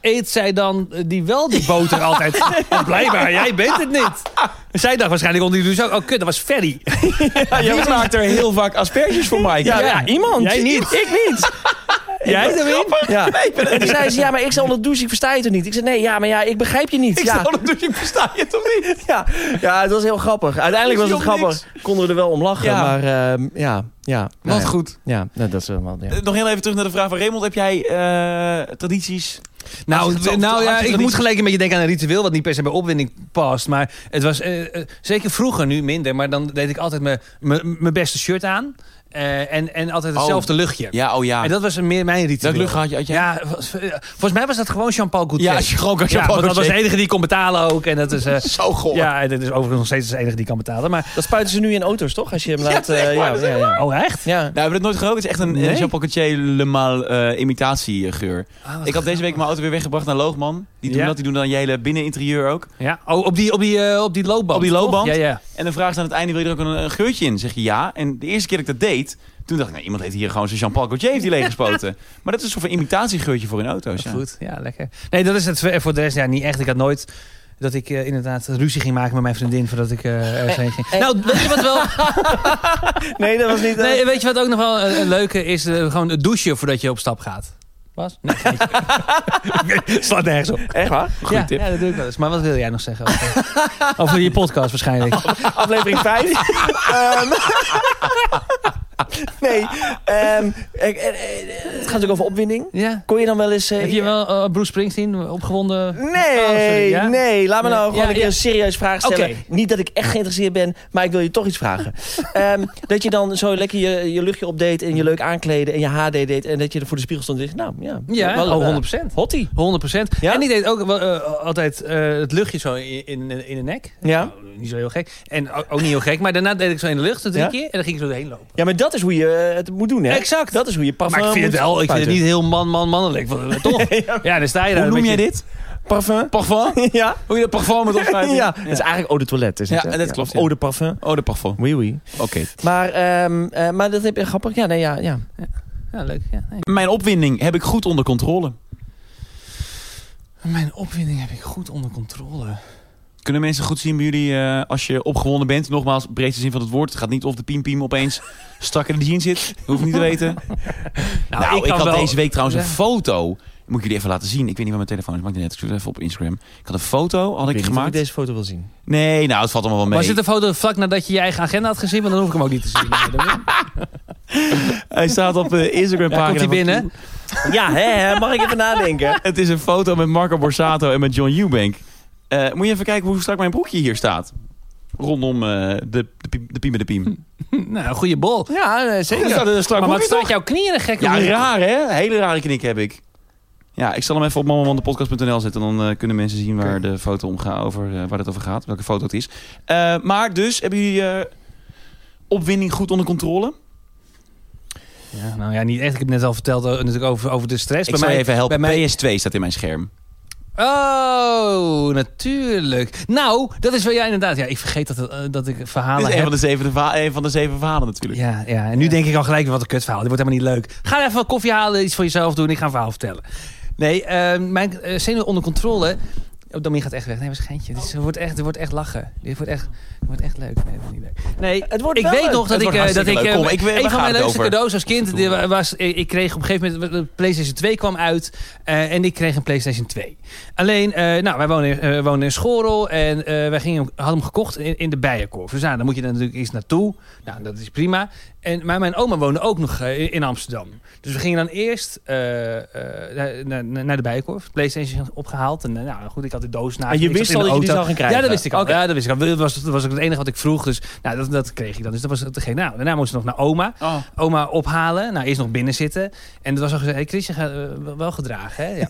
eet zij dan eh, die wel die boter altijd? Want blijkbaar, jij bent het niet. Zij dacht waarschijnlijk onder die douche ook, oh kut, dat was Ferry. jij maakt er heel vaak asperges voor, Mike. Ja, ja, iemand. Jij niet. Ik niet. Jij erin? (laughs) Ja. en toen zei ze, ja, maar ik sta onder de douche, dus ik versta je toch niet? Ik zei, nee, ja, maar ja, ik begrijp je niet. Ik ja. zou dat doen, ik versta je toch niet? ja. ja, het was heel grappig. Uiteindelijk was het Is die op grappig. Konden we er wel om lachen, Ja. maar ehm, ja. Ja, Wat nou ja. goed. Ja, nou, dat is helemaal... Ja. Eh, Nog heel even terug naar de vraag van Raymond. Heb jij eh, tradities? Nou, Als je het nou over- ja, als je ik het moet niet- gelijk een beetje denken aan een ritueel... wat niet per se bij opwinding past. Maar het was eh, eh, zeker vroeger, nu minder... maar dan deed ik altijd mijn- mijn mijn beste shirt aan... eh, en, en altijd Oh. hetzelfde luchtje. Ja, oh ja. En dat was een meer mijn ritueel. Welk lucht had je? Had jij? Ja, was- eh, volgens mij was dat gewoon Jean-Paul Gaultier. Ja, (laughs) als je gewoon kan Ja, want dat was de heel... enige die kon betalen ook. En dat is, (laughs) eh, Zo goor. ja, en dat is overigens nog steeds de enige die kan betalen. Maar, Dat spuiten ze nu in auto's, toch? Als je hem laat... eh, zeg maar, ja, dat is ja, ja. oh, echt? Ja. Nou, hebben we dat nooit gerookt? Het is echt een eh, Nee. Jean-Paul Gaultier Le Mal eh, imitatiegeur. wat ik had deze week mijn auto weer weggebracht naar Loogman. Die doen Ja. dat, die doen dan je hele binneninterieur ook. Ja, oh, op, die, op, die, eh, op die loopband. Op die toch? loopband? Ja, ja. En dan vragen ze aan het einde, wil je er ook een, een geurtje in? Zeg je ja. En de eerste keer dat ik dat deed, toen dacht ik, nou, iemand heeft hier gewoon zijn Jean-Paul Gaultier heeft die leeggespoten. maar dat is een soort van imitatiegeurtje voor in auto's. Ja. Goed, ja, lekker. Nee, dat is het voor- voor de rest ja, niet echt. Ik had nooit dat ik eh, inderdaad ruzie ging maken met mijn vriendin voordat ik eh ergens heen ging. Nou, weet je wat wel? Nee, dat was niet... eh, Nee, weet je wat ook nog wel een, een leuke is? Eh, gewoon het douchen voordat je op stap gaat. Was? Nee, geintje. slaat nergens op. Echt (laughs) waar? Goeie ja, tip. ja, dat doe ik wel eens. Maar wat wil jij nog zeggen? Over, over je podcast waarschijnlijk. Aflevering 5. (laughs) Ehm, nee. ehm, eh, eh, eh, het gaat natuurlijk over opwinding. Ja. Kon je dan wel eens... eh, Heb je wel eh, Bruce Springsteen opgewonden? Nee, Oh, sorry, ja? nee. Laat me nou Nee. gewoon Ja, een keer ja. een serieus vraag stellen. Oké. Niet dat ik echt geïnteresseerd ben, maar ik wil je toch iets vragen. Ehm, dat je dan zo lekker je, je luchtje opdeed en je leuk aankleden en je HD deed. En dat je er voor de spiegel stond en dacht, nou ja. Ja, wel, oh, eh, 100%. Hottie. 100%. Ja? En ik deed ook wel, eh, altijd eh, het luchtje zo in, in, in de nek. Ja. Nou, niet zo heel gek. En o- ook, niet heel gek. Maar daarna deed ik zo in de lucht drie Ja? keer. En dan ging ik zo doorheen lopen. Ja, maar dat is hoe je eh, het moet doen, hè? Exact. Dat is hoe je parfum Maar ik vind het moet wel, ik vind het spuiten. niet heel man, man, mannelijk. Want, eh, Toch? (laughs) (laughs) Ja, dan sta je daar. Hoe een noem jij beetje- dit? Parfum? (laughs) Parfum? ja. Hoe je dat parfum moet opschuiven? ja, dat is eigenlijk eau de toilet, is het, Ja, hè? dat klopt, Of ja. Eau de parfum. Oh, de parfum. Oui, oui. Oké. Maar, ehm, eh, maar dat heb je grappig. Ja, nee, ja, ja. Ja, leuk. Ja, nee. Mijn opwinding heb ik goed onder controle. Mijn opwinding heb ik goed onder controle. Kunnen mensen goed zien bij jullie eh, als je opgewonden bent? Nogmaals, breedste zin van het woord. Het gaat niet of de piempiem opeens strak in de jeans zit. Dat hoef ik niet te weten. Nou, ik, kan had wel- deze week trouwens Ja. een foto. Moet ik jullie even laten zien. Ik weet niet waar mijn telefoon is. Maakt niet uit. Ik zoek het even op Instagram. Ik had een foto, had ik, weet niet of gemaakt. ik deze foto wil zien. Nee, nou, het valt allemaal wel Was mee. dit een foto vlak nadat je je eigen agenda had gezien? Want dan hoef ik hem ook niet te zien. Hij staat op de Instagram Ja, komt pagina. hij binnen? Ja, hè, hè, mag ik even nadenken? Het is een foto met Marco Borsato en met John Eubank. Eh, moet je even kijken hoe strak mijn broekje hier staat. Rondom eh, de, de, piem- de piem en de piem. Nou, een goede bol. Ja, Er staat een strak Maar wat broekje toch? staat jouw knieën gek? Ja, raar hè? Hele rare knik heb ik. Ja, ik zal hem even op mammamandepodcast.nl zetten. Dan eh, kunnen mensen zien waar de foto om gaat, over, eh, waar het over gaat, welke foto het is. Eh, maar dus, hebben jullie eh, opwinding goed onder controle? Ja, nou ja, niet echt. Ik heb net al verteld eh, natuurlijk over, over de stress. ik bij zal je mij, even helpen. bij mij- PS2 staat in mijn scherm. Oh, natuurlijk. Nou, dat is wel... Ja, inderdaad. Ja, ik vergeet dat, eh, dat ik Dit verhalen is een heb. van, de zeven, verha- een van de zeven verhalen natuurlijk. Ja, ja, en nu denk ik al gelijk weer wat een kutverhaal. Dit wordt helemaal niet leuk. Ga even wat koffie halen, iets voor jezelf doen. Ik ga een verhaal vertellen. Nee, eh, mijn zenuw zenuwen onder controle... Oh, Domien gaat echt weg. Nee, waarschijntje. Dit is- het wordt echt, het wordt echt lachen. Dit wordt echt, het wordt echt leuk. Nee, het wordt niet leuk. Nee, Het wordt ik wel weet leuk. nog dat ik, Het wordt eh, dat hartstikke ik, leuk. eh, Kom, ik weet- een waar van gaat mijn het leukste over? cadeaus als kind die wa- was, ik ik kreeg op een gegeven moment, de PlayStation 2 kwam uit eh, en ik kreeg een PlayStation 2. Alleen, eh, nou, wij wonen, in- eh, wonen in Schorel en eh, wij gingen, hem- hadden hem gekocht in, in de Bijenkorf. Dus nou, dan moet je daar natuurlijk eens naartoe. Nou, dat is prima. En, maar mijn oma woonde ook nog eh, in Amsterdam. Dus we gingen dan eerst eh, eh, naar, naar- naar de Bijenkorf, PlayStation opgehaald. En eh, nou, goed, ik had de doos naast En Ah, je me. Ik zat wist in al de dat je die auto. zou gaan krijgen? Ja, dat wist ik al. Ja, dat wist ik al. Dat was, dat was ook het enige wat ik vroeg. Dus nou, dat, dat kreeg ik dan. Dus dat was het geen. Nou, daarna moesten we nog naar oma. Oh. Oma ophalen. Nou, eerst nog binnen zitten. En er was al gezegd, hey, Chris, je gaat eh, wel gedragen, hè? Ja,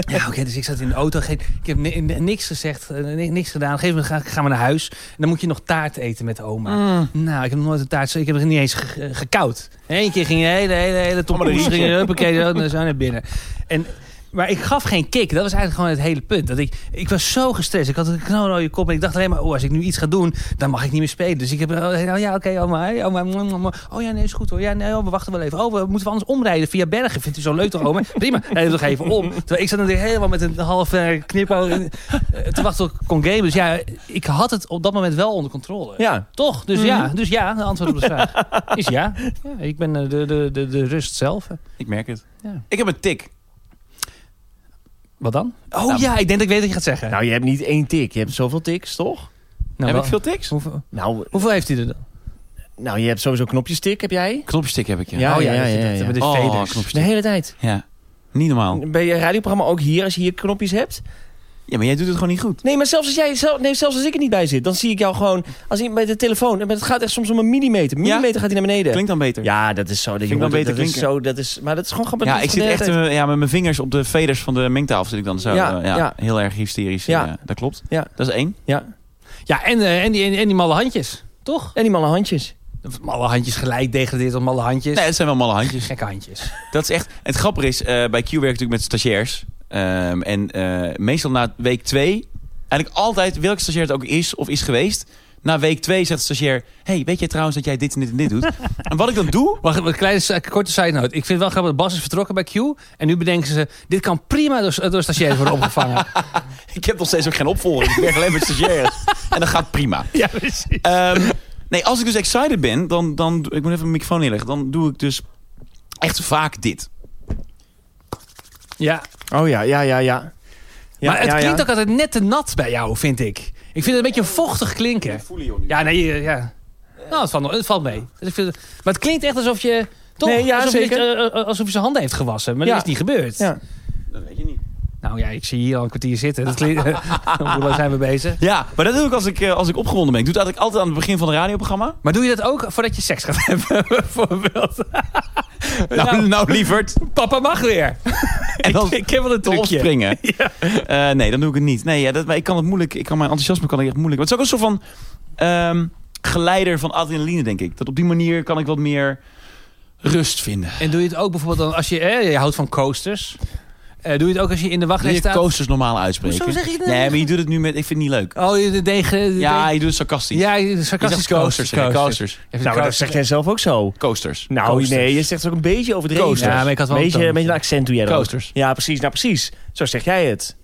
ja oké. dus ik zat in de auto. Geen, ik heb ni- niks gezegd, eh, ni- niks gedaan. Op een gegeven moment ga- gaan we naar huis. En dan moet je nog taart eten met oma. Nou, ik heb nog nooit een taart. zo- Ik heb er niet eens ge- eh, gekoud. Eén keer ging de hele, hele, hele toppoes. Ging je huppakee, zo naar- zo naar binnen. En, maar ik gaf geen kick. Dat was eigenlijk gewoon het hele punt. Dat ik, ik was zo gestrest. Ik had een knalrode kop. En ik dacht alleen maar, oh, als ik nu iets ga doen, dan mag ik niet meer spelen. Dus ik heb, eh, oh, ja, oké, oma. hè, oma mwah, mwah, mwah. oh ja, nee, is goed hoor. Ja, nee, oh, we wachten wel even. Oh, we moeten we anders omrijden via Bergen. Vindt u zo leuk toch, oma? (laughs) Prima, rijd toch even om. Terwijl ik zat natuurlijk helemaal met een halve knipoog in- eh, te wachten op kon gamen. Dus ja, ik had het op dat moment wel onder controle. Ja. Toch? Dus ja, dus ja, de antwoord op de vraag is ja. Ja, ik ben eh, de, de, de, de rust zelf. hè. Ik merk het. Ja. Ik heb een tik. Wat dan? Oh ja, ik denk dat ik weet wat je gaat zeggen. Nou, je hebt niet één tik. Je hebt zoveel tiks, toch? Nou, heb wel- ik veel tiks? hoeveel, Nou, hoeveel heeft hij er dan? Nou, je hebt sowieso knopjestik, heb jij? Knopjestik heb ik, ja. Ja, oh ja, ja, dat je ja, dat- ja. met de Oh, faders. knopjestik. De hele tijd. Ja. Niet normaal. Bij je radioprogramma ook hier, als je hier knopjes hebt. Ja, maar jij doet het gewoon niet goed. Nee, maar zelfs als, jij, zel- nee, zelfs als ik er niet bij zit, dan zie ik jou gewoon als in, bij de telefoon. En Het gaat echt soms om een millimeter. Millimeter gaat hij naar beneden. Klinkt dan beter. Ja, dat is zo. Dat, ik jongen, wel beter dat is klinken. zo, dat is, maar dat is gewoon grappig. Ja, dat ik is van zit de echt hele tijd. eh, ja, met mijn vingers op de veders van de mengtafel. Zit ik dan zo. Ja, eh, ja, ja. Heel erg hysterisch. Ja. Ja. dat klopt. Ja. Dat is één. Ja. Ja, en, eh, en, die, en, en die malle handjes. Toch? En die mannen handjes. Of Malle handjes gelijk degradeert tot malle handjes. Nee, het zijn wel malle handjes. Gekke handjes. Dat is echt. en Het grappige is, eh, bij Q werk ik natuurlijk met stagiairs. Ehm, en eh, meestal na week twee, eigenlijk altijd, welke stagiair het ook is of is geweest. Na week twee zegt de stagiair: Hey, weet jij trouwens dat jij dit en dit en dit (laughs) doet? en wat ik dan doe. Wacht, een kleine si- korte side note. Ik vind het wel grappig dat Bas is vertrokken bij Q. En nu bedenken ze, dit kan prima door, door stagiaires worden opgevangen. Ik heb nog steeds ook geen opvolger. Ik werk alleen met stagiaires. En dat gaat prima. ja, precies. Ehm, nee, als ik dus excited ben, dan, dan... Ik moet even mijn microfoon neerleggen. Dan doe ik dus echt vaak dit. Ja, Oh ja, ja, ja, ja. Ja, maar het ja, ja. klinkt ook altijd net te nat bij jou, vind ik. Ik vind het een beetje vochtig klinken. Ja, nee, eh, ja. Nou, het valt, nog- het valt mee. Dus ik vind het- maar het klinkt echt alsof je... Toch? Nee, ja, alsof, je, zeker. eh, eh, alsof je zijn handen heeft gewassen. Maar Ja. dat is niet gebeurd. Ja. Dat weet je niet. Nou ja, ik zie hier al een kwartier zitten. Dat klinkt, (laughs) hoe lang zijn we bezig? Ja, maar dat doe ik als ik, eh, als ik opgewonden ben. Ik doe het eigenlijk altijd aan het begin van een radioprogramma. Maar doe je dat ook voordat je seks gaat (laughs) hebben, bijvoorbeeld? Nou, nou lieverd. Papa mag weer. En dan Ik heb wel een te trucje. opspringen. Eh, nee, dan doe ik het niet. Nee, ja, dat, maar ik kan het moeilijk. Ik kan mijn enthousiasme kan ik echt moeilijk. Maar het is ook een soort van ehm, geleider van adrenaline, denk ik. Dat op die manier kan ik wat meer rust vinden. En doe je het ook bijvoorbeeld dan als je... Eh, je houdt van coasters. Eh, doe je het ook als je in de Wil wachtrij je staat? coasters normaal uitspreken? Hoezo zeg je dat? Nee, maar je doet het nu met... Ik vind het niet leuk. Oh, je de degen... de- Ja, je doet het sarcastisch. Ja, je- je sarcastisch zegt coasters. hè? Coasters. Even Nou, maar dat coasters. zegt jij zelf ook zo. Coasters. Nou, Coasters. nee, je zegt het ook een beetje overdreven. Coasters. Ja, maar ik had wel een beetje, toontje. een beetje een accent doe jij dat. Coasters. Ja, precies. Nou, precies. Zo zeg jij het.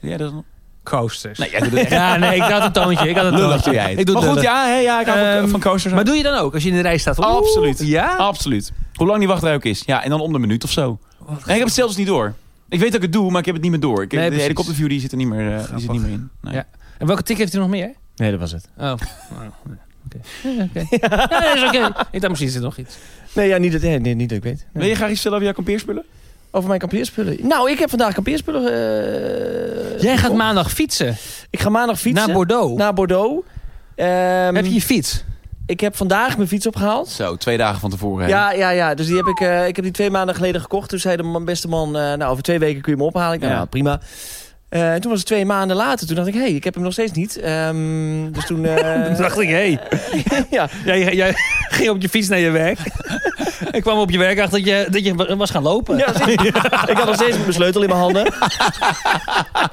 Ja, dat is nog... coasters. Nee, jij doet het (laughs) (laughs) echt. Ja, nee, ik had een toontje. Ik had een Lullig toontje. doe jij het. Ik doe maar goed, lullig. ja, hè, ja, ik hou van- Ehm, van coasters. Maar doe je dan ook als je in de rij staat? Oh, Oeh, Absoluut. Ja? Absoluut. Hoe lang die wachtrij ook is. Ja, en dan om de minuut of zo. En ik heb het zelfs niet door. Ik weet dat ik het doe, maar ik heb het niet meer door. Ik, Nee, de precies. helikopterview die zit er niet meer, eh, die zit niet meer in. Nee. Ja. En welke tik heeft hij nog (laughs) meer? Nee, dat was het. Oh. Oké. Ja, oké. Ja, dat is oké. Ik dacht misschien is er nog iets. Nee, ja, niet dat, nee, nee, niet dat ik weet. Nee. Wil je graag iets vertellen over jouw kampeerspullen? Over mijn kampeerspullen. Nou, ik heb vandaag kampeerspullen... eh, Jij gaat gekocht. maandag fietsen Ik ga maandag fietsen. naar Bordeaux. Naar Bordeaux. Ehm, Heb je je fiets? Ik heb vandaag mijn fiets opgehaald. Zo, twee dagen van tevoren. Oh, Ja, ja, ja. Dus die heb ik, eh, ik heb die twee maanden geleden gekocht. Toen zei de man- beste man, eh, nou, over twee weken kun je hem ophalen. Ik dacht, Ja. nou, prima. Eh, en toen was het twee maanden later. Toen dacht ik, hé, hey, ik heb hem nog steeds niet. Ehm, dus (laughs) toen... eh, ik, hé. (laughs) ja, Jij, jij (laughs) ging op je fiets naar je (laughs) werk. ik kwam op je werk achter dat je, dat je was gaan (laughs) lopen. Ja, precies. ik had nog steeds mijn sleutel in mijn handen. (laughs)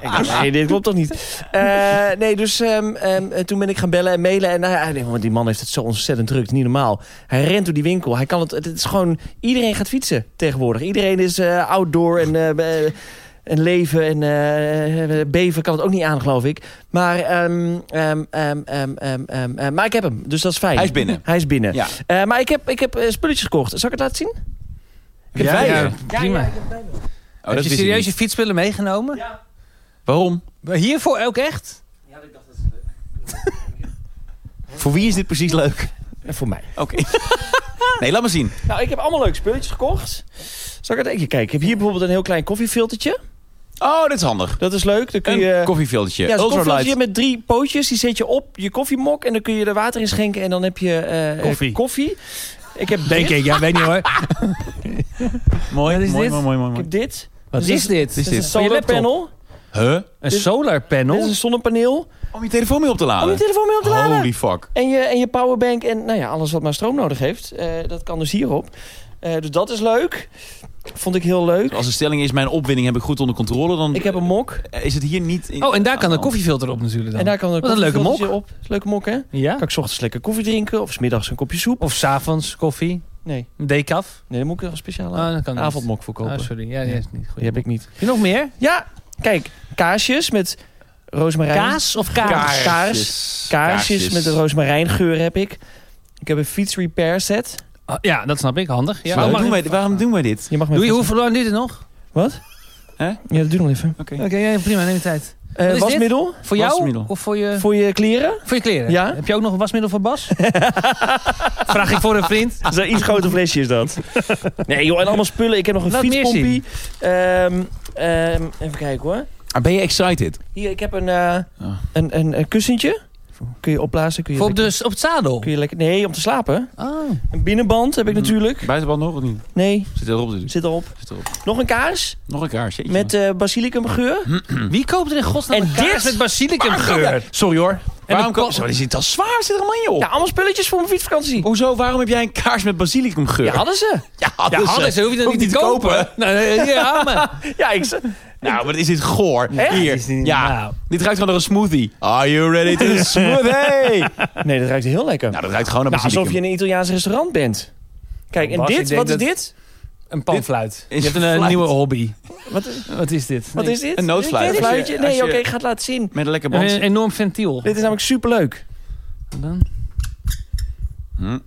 Ik dacht, nee, dit klopt toch niet? Eh, nee, dus ehm, ehm, eh, toen ben ik gaan bellen en mailen. En nou ja, ik denk, want die man heeft het zo ontzettend druk. Het is niet normaal. Hij rent door die winkel. Hij kan het, het is gewoon, iedereen gaat fietsen tegenwoordig. Iedereen is eh, outdoor en... eh, eh, en leven en eh, beven kan het ook niet aan, geloof ik. Maar, ehm, ehm, ehm, ehm, ehm, ehm, eh, maar ik heb hem, dus dat is fijn. Hij is binnen. Hij is binnen. Ja. Eh, maar ik heb, ik heb eh, spulletjes gekocht. Zal ik het laten zien? Ik heb Ja, bijen. ja, prima. Oh, dat heb je wist ik serieus je niet. fietspullen meegenomen? Ja. Waarom? Hiervoor ook echt? Voor wie is dit precies leuk? Eh, Voor mij. Oké. (laughs) nee, laat maar zien. Nou, ik heb allemaal leuke spulletjes gekocht. Zal ik het even kijken? Ik heb hier bijvoorbeeld een heel klein koffiefiltertje. Oh, dit is handig. Dat is leuk. Dan kun Een je... koffiefiltertje. Ja, zo'n koffiefiltertje Ultralight. met drie pootjes. Die zet je op je koffiemok en dan kun je er water in schenken en dan heb je eh, Koffie. koffie. Ik heb dit. ik, ja, weet niet hoor. Mooi, Wat is mooi, dit? mooi, mooi, mooi, Ik mooi. heb dit. (laughs) Wat Dus is dit? Dit is een Van je solar laptop? panel. Huh? Een solar panel? Dit is een zonnepaneel. Om je telefoon mee op te laden. Om je telefoon mee op te laden. Holy fuck. En je, en je powerbank en nou ja, alles wat maar stroom nodig heeft. Eh, dat kan dus hierop. Eh, dus dat is leuk. Vond ik heel leuk. Als de stelling is, mijn opwinding heb ik goed onder controle, dan eh, Ik heb een mok. is het hier niet... in- Ah, Oh, en daar kan een aan de hand. koffiefilter op natuurlijk dan. En daar kan een Wat een leuke koffiefiltertje op. Leuke mok, hè? Ja? Kan ik 's ochtends lekker koffie drinken of 's middags een kopje soep? Of s'avonds koffie? Nee, Een decaf? nee dan moet ik er een speciale Ah, dat kan niet. avondmok voor kopen. Ah, sorry. Ja, die is niet goed. Die heb ik niet. Heb je nog meer? Ja, kijk, kaasjes met rozemarijn. Kaas of kaas? Kaars. Kaarsjes. Kaarsjes met een rozemarijngeur heb ik. Ik heb een fiets repair set. Ah, ja, dat snap ik. Handig. Ja, Oh, waarom, mag- doen wij, waarom doen wij dit? Je mag me Doe je, even- hoe lang duurt het nog? Wat? Hè? Ja, dat doe nog even. Oké. Oké, ja, prima. Neem je tijd. Eh, Eh, Wat is dit? Eh. wasmiddel Voor jou? Wasmiddel. Of voor je, voor je kleren. voor je kleren? Ja. Heb je ook nog een wasmiddel voor (laughs) Bas? Vraag ik voor een vriend. Dat is een Ah, iets groter flesje is dat. (laughs) Nee joh, en allemaal spullen. Ik heb nog een Laat meer fietspompie. Ehm, ehm, even kijken hoor. Ah, ben je excited? Hier, ik heb een, eh, Ah. een, een, een kussentje. Kun je opblazen. Kun je Voor op, lekker- de, op het zadel. kun je lekker, nee, om te slapen. Oh. Een binnenband heb ik Mm. natuurlijk. Buitenbal nog of niet? Nee, Zit erop dus. zit erop. Zit erop. Nog een kaars Nog een kaarsje. met eh basilicumgeur. Hm. Hmm. Wie koopt er in godsnaam En een dit? kaars met basilicumgeur? Sorry hoor. Waarom dan- ko- Zo, die zit al zwaar. Zit er een manje op? Ja, allemaal spulletjes voor mijn fietsvakantie. Hoezo? Waarom heb jij een kaars met basilicumgeur? (laughs) eh, Ja, hadden ze. Ja, hadden Ja, hadden ze, Ah, dus hoef je dat Hoef niet te kopen. Nou, eh, ja, maar. Ja, ik... ze- Nou, wat is dit goor. Echt? Hier. Is dit- Ja. nou. Dit ruikt gewoon naar een smoothie. Are you ready to smoothie? Nee, dat ruikt heel lekker. nou, dat ruikt gewoon naar Nou, basilicum. alsof je in een Italiaans restaurant bent. Kijk, en Bas, ik dit? denk Wat is dat- dit? Een panfluit. Is Je hebt een eh, fluit. nieuwe hobby. Wat is, Wat is dit? wat Nee. is dit? Een noodfluit. Ik weet het Als je- fluitje? als Nee, je- oké, ik ga het laten zien. Met een lekker band. Een enorm ventiel. Dit is namelijk superleuk. Dan. Hm. Een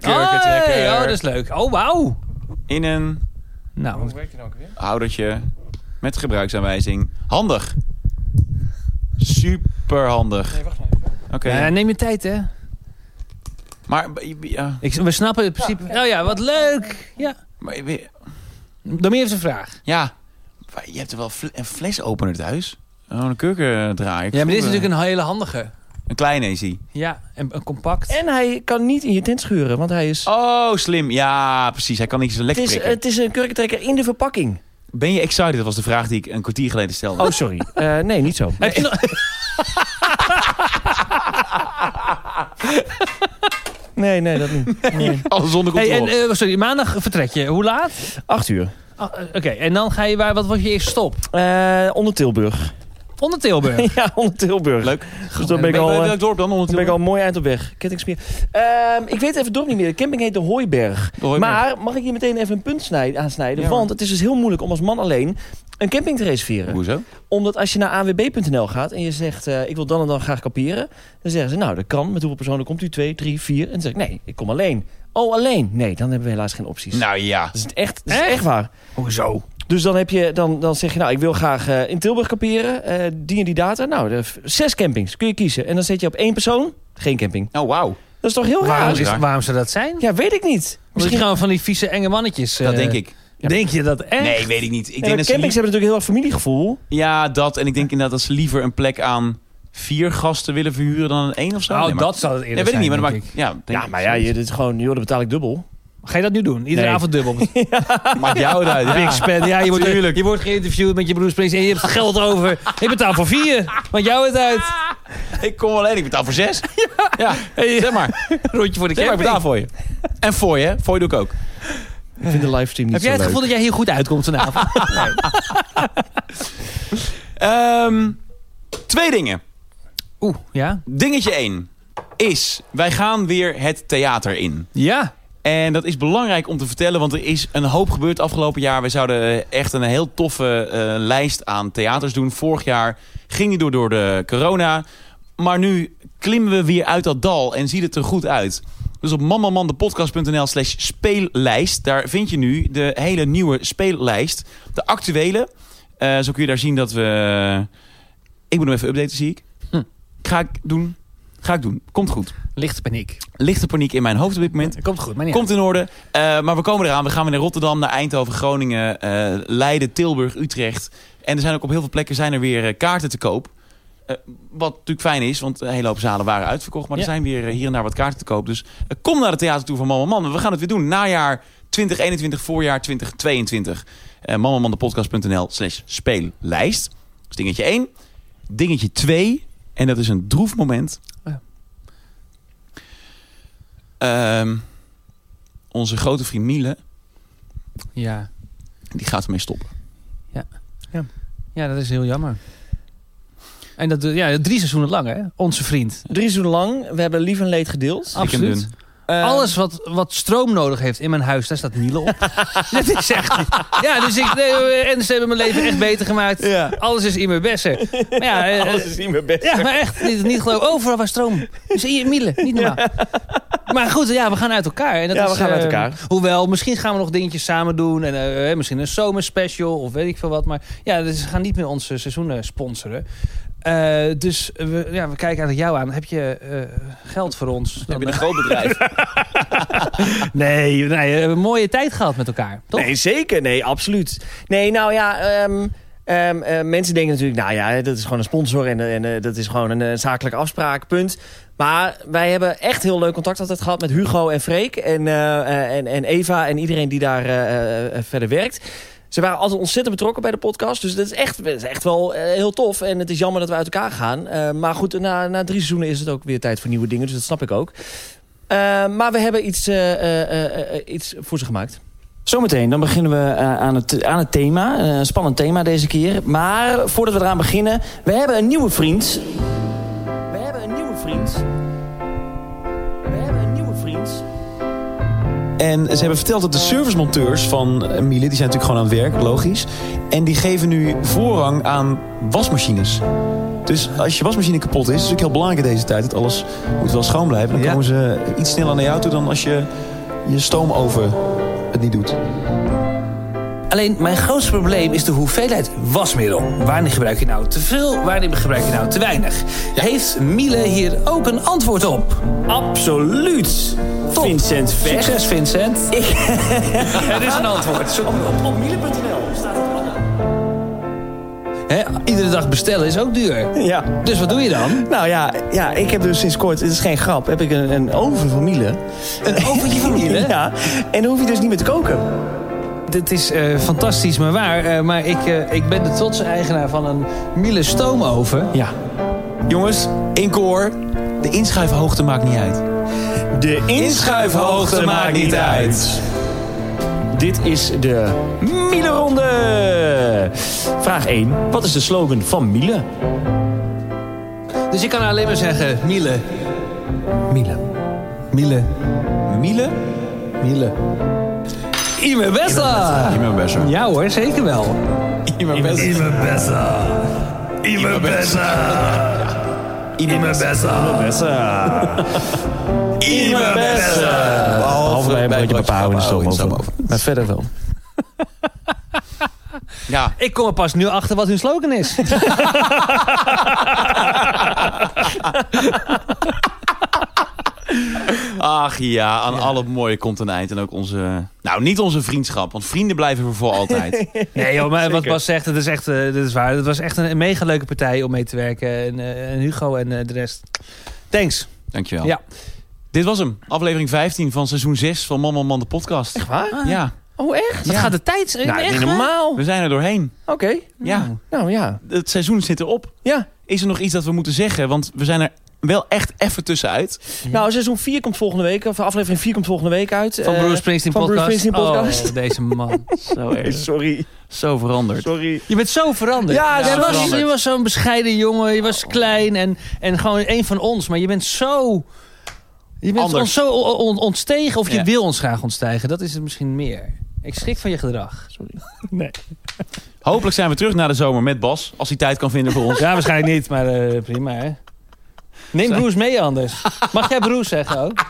kurkentrekker. Hey, oh, dat is leuk. Oh, wauw. In een Nou, werkt het nou ook weer? houdertje met gebruiksaanwijzing. Handig. Super handig. Nee, wacht maar even. Oké. eh, neem je tijd, hè. Maar, b- b- ja, Ik, we snappen het principe. oh ja, wat leuk. Ja. maar we- Dan meer heeft een vraag. ja, maar je hebt er wel fl- een flesopener thuis. Oh, een kurkendraaier. Ja, maar dit is natuurlijk een hele handige. Eh, Een kleine is die. Ja, en een compact. En hij kan niet in je tent schuren, want hij is... Oh, slim. Ja, precies. Hij kan niks het, lekker is prikken. het is een kurkentrekker in de verpakking. Ben je excited? Dat was de vraag die ik een kwartier geleden stelde. (laughs) Oh, sorry. Eh, nee, niet zo. Heb je nog- Nee, nee, dat niet. Nee. Alles zonder Hey, controle. en, eh, sorry, maandag vertrek je. Hoe laat? Acht uur. Ah, eh, Oké, en dan ga je waar, wat was je eerste stop? Eh, onder Tilburg. Onder (laughs) Tilburg. ja, onder Tilburg. Leuk. Dus dan ben ik al... eh, welk dorp dan? Dan ben ik al mooi eind op weg. Kettingsmeer. Ehm, ik weet even het dorp niet meer. De camping heet de Hooiberg. Maar mag ik hier meteen even een punt snij- aansnijden? Ja, Want het is dus heel moeilijk om als man alleen een camping te reserveren. Hoezo? Omdat als je naar awb.nl gaat en je zegt... eh, ik wil dan en dan graag kamperen. Dan zeggen ze, nou dat kan. Met hoeveel personen komt u? Twee, drie, vier? En dan zeg ik, nee, ik kom alleen. Oh, alleen? Nee, dan hebben we helaas geen opties. Nou ja. Dat is echt, dat is Echt? echt waar. (laughs) Hoezo? Dus dan, heb je, dan, dan zeg je, nou, ik wil graag eh, in Tilburg kamperen. eh, die en die data. Nou, de v- zes campings kun je kiezen. En dan zet je op één persoon geen camping. Oh, wauw. Dat is toch heel raar? Waarom, is, raar. waarom zou dat zijn? Ja, weet ik niet. Misschien Misschien gaan we van die vieze enge mannetjes. eh, Dat denk ik. Denk je dat echt? Nee, weet ik niet. Ik denk en dat campings ze hebben natuurlijk liever- heel erg familiegevoel. Ja, dat. En ik denk inderdaad dat ze liever een plek aan vier gasten willen verhuren dan een één of zo. Oh, Nee, maar- dat zou het Nee, eerder weet ik zijn, niet. Maar dat denk maakt... Ja, denk Ja, ik. maar ja, je, dit is gewoon, joh, dan betaal ik dubbel. ik. Ga je dat nu doen? Iedere Nee. avond (laughs) dubbel. Maakt jou het uit. Big Ja. spend. Ja, je wordt, Tuurlijk. je wordt geïnterviewd met je Bruce Springsteen en je hebt geld over. (laughs) Ik betaal voor vier. Want jou het uit. (laughs) Ik kom alleen. Ik betaal voor zes. Ja, zeg maar. Rondje voor de Zeg maar, camping. ik betaal voor je. En voor je. hè. Voor je doe ik ook. Ik vind de livestream niet Heb jij het zo gevoel leuk. dat jij hier goed uitkomt vanavond? (laughs) Ehm, twee dingen. Oeh, ja. Dingetje één is... Wij gaan weer het theater in. Ja. En dat is belangrijk om te vertellen, want er is een hoop gebeurd afgelopen jaar. We zouden echt een heel toffe eh, lijst aan theaters doen. Vorig jaar ging die door, door de corona. Maar nu klimmen we weer uit dat dal en ziet het er goed uit. Dus op mammamandepodcast.nl slash speellijst... daar vind je nu de hele nieuwe speellijst. De actuele. Eh, zo kun je daar zien dat we... Ik moet hem even updaten, zie ik. Hm. Ga ik doen. Ga ik doen. Komt goed. Lichte paniek. Lichte paniek in mijn hoofd op dit moment. Komt goed, maar niet Komt in orde. Eh, maar we komen eraan. We gaan weer naar Rotterdam, naar Eindhoven, Groningen, eh, Leiden, Tilburg, Utrecht. En er zijn ook op heel veel plekken zijn er weer eh, kaarten te koop. Eh, wat natuurlijk fijn is, want een hele hoop zalen waren uitverkocht. Maar er Ja. zijn weer eh, hier en daar wat kaarten te koop. Dus eh, kom naar het theater toe van Mama Man. We gaan het weer doen. Najaar 2021, voorjaar 2022. Uh, Mamamandepodcast.nl slash speellijst. Dat is dingetje 1. Dingetje 2. En dat is een droef moment. Ja. Ehm, onze grote vriend Miele, Ja. die gaat ermee stoppen. ja, dat is heel jammer. En dat, ja, drie seizoenen lang, hè? Onze vriend. Drie seizoenen lang, we hebben lief en leed gedeeld. Dik en Absoluut. dun. Eh, Alles wat, wat stroom nodig heeft in mijn huis, daar staat Miele (laughs) op. dat is echt... Ja, dus ik, nee, en ze hebben mijn leven echt beter gemaakt. Ja. Alles is in mijn bessen. Maar ja, eh, Alles is niet meer best. ja, maar echt, niet, niet geloof. Overal was stroom. Dus hier, Miele, niet normaal. Maar goed, ja, we gaan uit elkaar. En dat Ja, we is, gaan uit eh, elkaar. Hoewel, misschien gaan we nog dingetjes samen doen. En eh, eh, misschien een zomerspecial of weet ik veel wat. Maar ja, dus ze gaan niet meer onze seizoenen sponsoren. Eh, dus we, ja, we kijken eigenlijk jou aan. Heb je eh, geld voor ons? Heb je Dan- een groot (laughs) bedrijf? nee, nee, we hebben een mooie tijd gehad met elkaar. Toch? Nee, zeker. Nee, absoluut. Nee, nou ja... ehm, ehm, eh, mensen denken natuurlijk, nou ja, dat is gewoon een sponsor en, eh, en eh, dat is gewoon een eh, zakelijke afspraak, punt. Maar wij hebben echt heel leuk contact altijd gehad met Hugo en Freek en, eh, eh, en, en Eva en iedereen die daar eh, eh, verder werkt. Ze waren altijd ontzettend betrokken bij de podcast, dus dat is echt, dat is echt wel eh, heel tof. En het is jammer dat we uit elkaar gaan. Eh, maar goed, na, na drie seizoenen is het ook weer tijd voor nieuwe dingen, dus dat snap ik ook. Eh, maar we hebben iets, eh, eh, eh, eh, iets voor ze gemaakt. Zometeen, dan beginnen we eh, aan, het, aan het thema. Eh, Een spannend thema deze keer. Maar voordat we eraan beginnen, we hebben een nieuwe vriend. We hebben een nieuwe vriend. We hebben een nieuwe vriend. En ze hebben verteld dat de servicemonteurs van eh, Miele, die zijn natuurlijk gewoon aan het werk, logisch. En die geven nu voorrang aan wasmachines. Dus als je wasmachine kapot is, is het natuurlijk heel belangrijk in deze tijd. Dat alles moet wel schoon blijven. Dan Ja. komen ze iets sneller naar jou toe dan als je je stoomoven het niet doet. Alleen mijn grootste probleem is de hoeveelheid wasmiddel. Wanneer gebruik je nou te veel, wanneer gebruik je nou te weinig? Heeft Miele hier ook een antwoord op? Absoluut. Vincent Vecht. Succes Vincent. (laughs) er is een antwoord, zoek maar op. Op miele.nl staat het allemaal. Hè, iedere dag bestellen is ook duur. Ja. Dus wat doe je dan? Nou ja, ja, ik heb dus sinds kort, het is geen grap, heb ik een, een oven van Miele. Een oventje van Miele? Ja, en dan hoef je dus niet meer te koken. Dit is eh, fantastisch, maar waar. Eh, maar ik, eh, ik ben de trotse eigenaar van een Miele stoomoven. Ja. Jongens, in koor, de inschrijfhoogte maakt niet uit. De Inschuifhoogte maakt niet uit. Dit is de Miele-ronde. Vraag 1. Wat is de slogan van Miele? Dus ik kan alleen maar zeggen, Miele. Miele. Miele. Miele? Miele. Ime Bessa. Immer besser. Ja hoor, zeker wel. Immer besser. Immer besser. Immer besser. Immer besser. Behalve bij een broodje broodje papau in de papau stoomoven. Maar verder wel. Ja, Ik kom er pas nu achter wat hun (laughs) slogan is. Ach ja, aan alle mooie komt een eind. En ook onze... Nou, niet onze vriendschap. Want vrienden blijven we voor (laughs) altijd. Nee joh, maar wat Zeker. Bas zegt, dat is echt, eh, dat is waar. Het was echt een, een mega leuke partij om mee te werken. En, eh, en Hugo en eh, de rest. Thanks. Dankjewel. Ja. Dit was hem. Aflevering 15 van seizoen 6 van Man Man Man de podcast. Waar? Ja, Oh, echt? Wat gaat de tijd? Nou, echt, niet hè? normaal. we zijn er doorheen. Oké. Ja, Nou ja. het seizoen zit erop. Ja. Is er nog iets dat we moeten zeggen? Want we zijn er wel echt even tussenuit. Nou, seizoen 4 komt volgende week. Of aflevering 4 komt volgende week uit. Van Eh, Bruce Springsteen van Bruce podcast. Springsteen podcast. Oh, deze man. (laughs) Zo, erg. Sorry. zo veranderd. Sorry. Je bent zo veranderd. Ja, je, zo was, veranderd. je was zo'n bescheiden jongen. Je was klein en, en gewoon een van ons. Maar je bent zo... Je bent Anders. ons zo on- on- ontstegen. Of je Ja. wil ons graag ontstijgen. Dat is het misschien meer. Ik schrik van je gedrag. (laughs) Hopelijk zijn we terug na de zomer met Bas. Als hij tijd kan vinden voor (laughs) ons. Ja, waarschijnlijk niet, maar eh, prima hè. Neem Bruce mee (laughs) anders. Mag jij Bruce zeggen ook?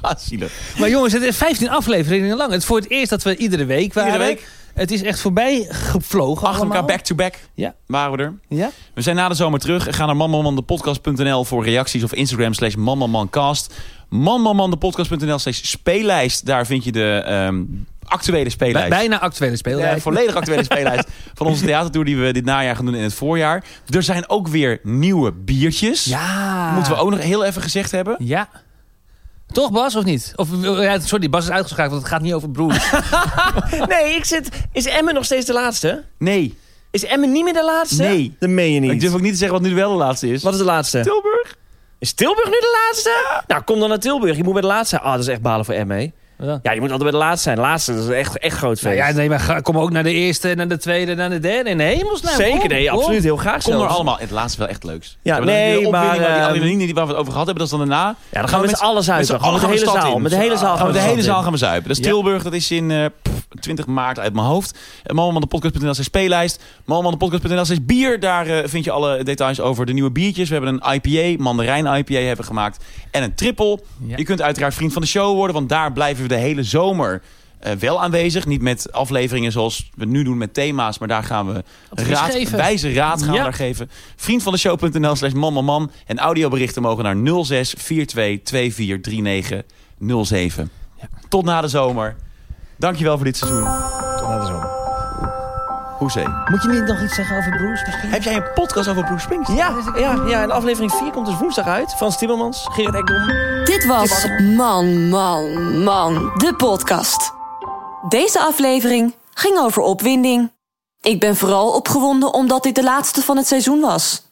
Ah, zielig. Maar jongens, het is 15 afleveringen lang. Het is voor het eerst dat we iedere week waren. Iedere week. Het is echt voorbij gevlogen Achter elkaar allemaal. back-to-back Ja. waren we er. Ja? We zijn na de zomer terug. Ga naar manmanmandepodcast.nl voor reacties of Instagram slash manmanmancast. Manmanmandepodcast.nl slash speellijst. Daar vind je de ehm, actuele Bij- speellijst. bijna actuele de (laughs) speellijst. volledig actuele speellijst van onze theatertour die we dit najaar gaan doen in het voorjaar. Er zijn ook weer nieuwe biertjes. ja. Moeten we ook nog heel even gezegd hebben. Ja. Toch Bas, of niet? Of, eh, ja, sorry, Bas is uitgeschakeld, want het gaat niet over (laughs) Bruce. Nee, ik zit... Is Emmen nog steeds de laatste? Nee, Is Emmen niet meer de laatste? Nee. Dat meen je ik niet. durf ook niet te zeggen wat nu wel de laatste is. Wat is de laatste? Tilburg? Is Tilburg nu de laatste? Nou, kom dan naar Tilburg. Je moet bij de laatste zijn. Ah, dat is echt balen voor ME. ja. Ja, je moet altijd bij de laatste zijn. De laatste, dat is echt, echt groot Nou feest. ja, nee, maar ga- kom ook naar de eerste, naar de tweede, naar de derde. In de hemelsnaam. Zeker, kom, nee, kom. absoluut. Heel graag Nou, Kom er zelfs. allemaal. Het laatste wel echt leuks. Ja, dan nee, die opwinding maar, waar- ehm, Die adrenaline die waar we het over gehad hebben, dat is dan daarna. Ja, dan gaan we met z'n Met z'n alles uit. dan. allen Gewoon Met de hele gaan we de stad zaal. in. Met de hele zaal Gaan we de stad hele in. zaal gaan we zuipen. Dat is Ja. Tilburg, dat is in eh, pff, 20 maart uit mijn hoofd. Uh, Malmandepodcast.nl is speellijst. Malmandepodcast.nl is bier. Daar eh, vind je alle details over de nieuwe biertjes. We hebben een IPA, mandarijn IPA hebben we gemaakt. En een triple. Ja. Je kunt uiteraard vriend van de show worden. Want daar blijven we de hele zomer eh, wel aanwezig. Niet met afleveringen zoals we nu doen met thema's. Maar daar gaan we advies raad, geven. wijze raad gaan Ja. we daar geven. Vriend van de show.nl slash man man man. En audioberichten mogen naar 06 42 24 39 07. Tot na de zomer. Dankjewel voor dit seizoen. Hoezee. Moet je niet nog iets zeggen over Bruce misschien? Heb jij een podcast over Bruce Springsteen? Ja, ja, ja, en aflevering 4 komt dus woensdag uit. Frans Timmermans, Gerard Ekdom. Dit was Man, Man, Man, de podcast. Deze aflevering ging over opwinding. Ik ben vooral opgewonden omdat dit de laatste van het seizoen was.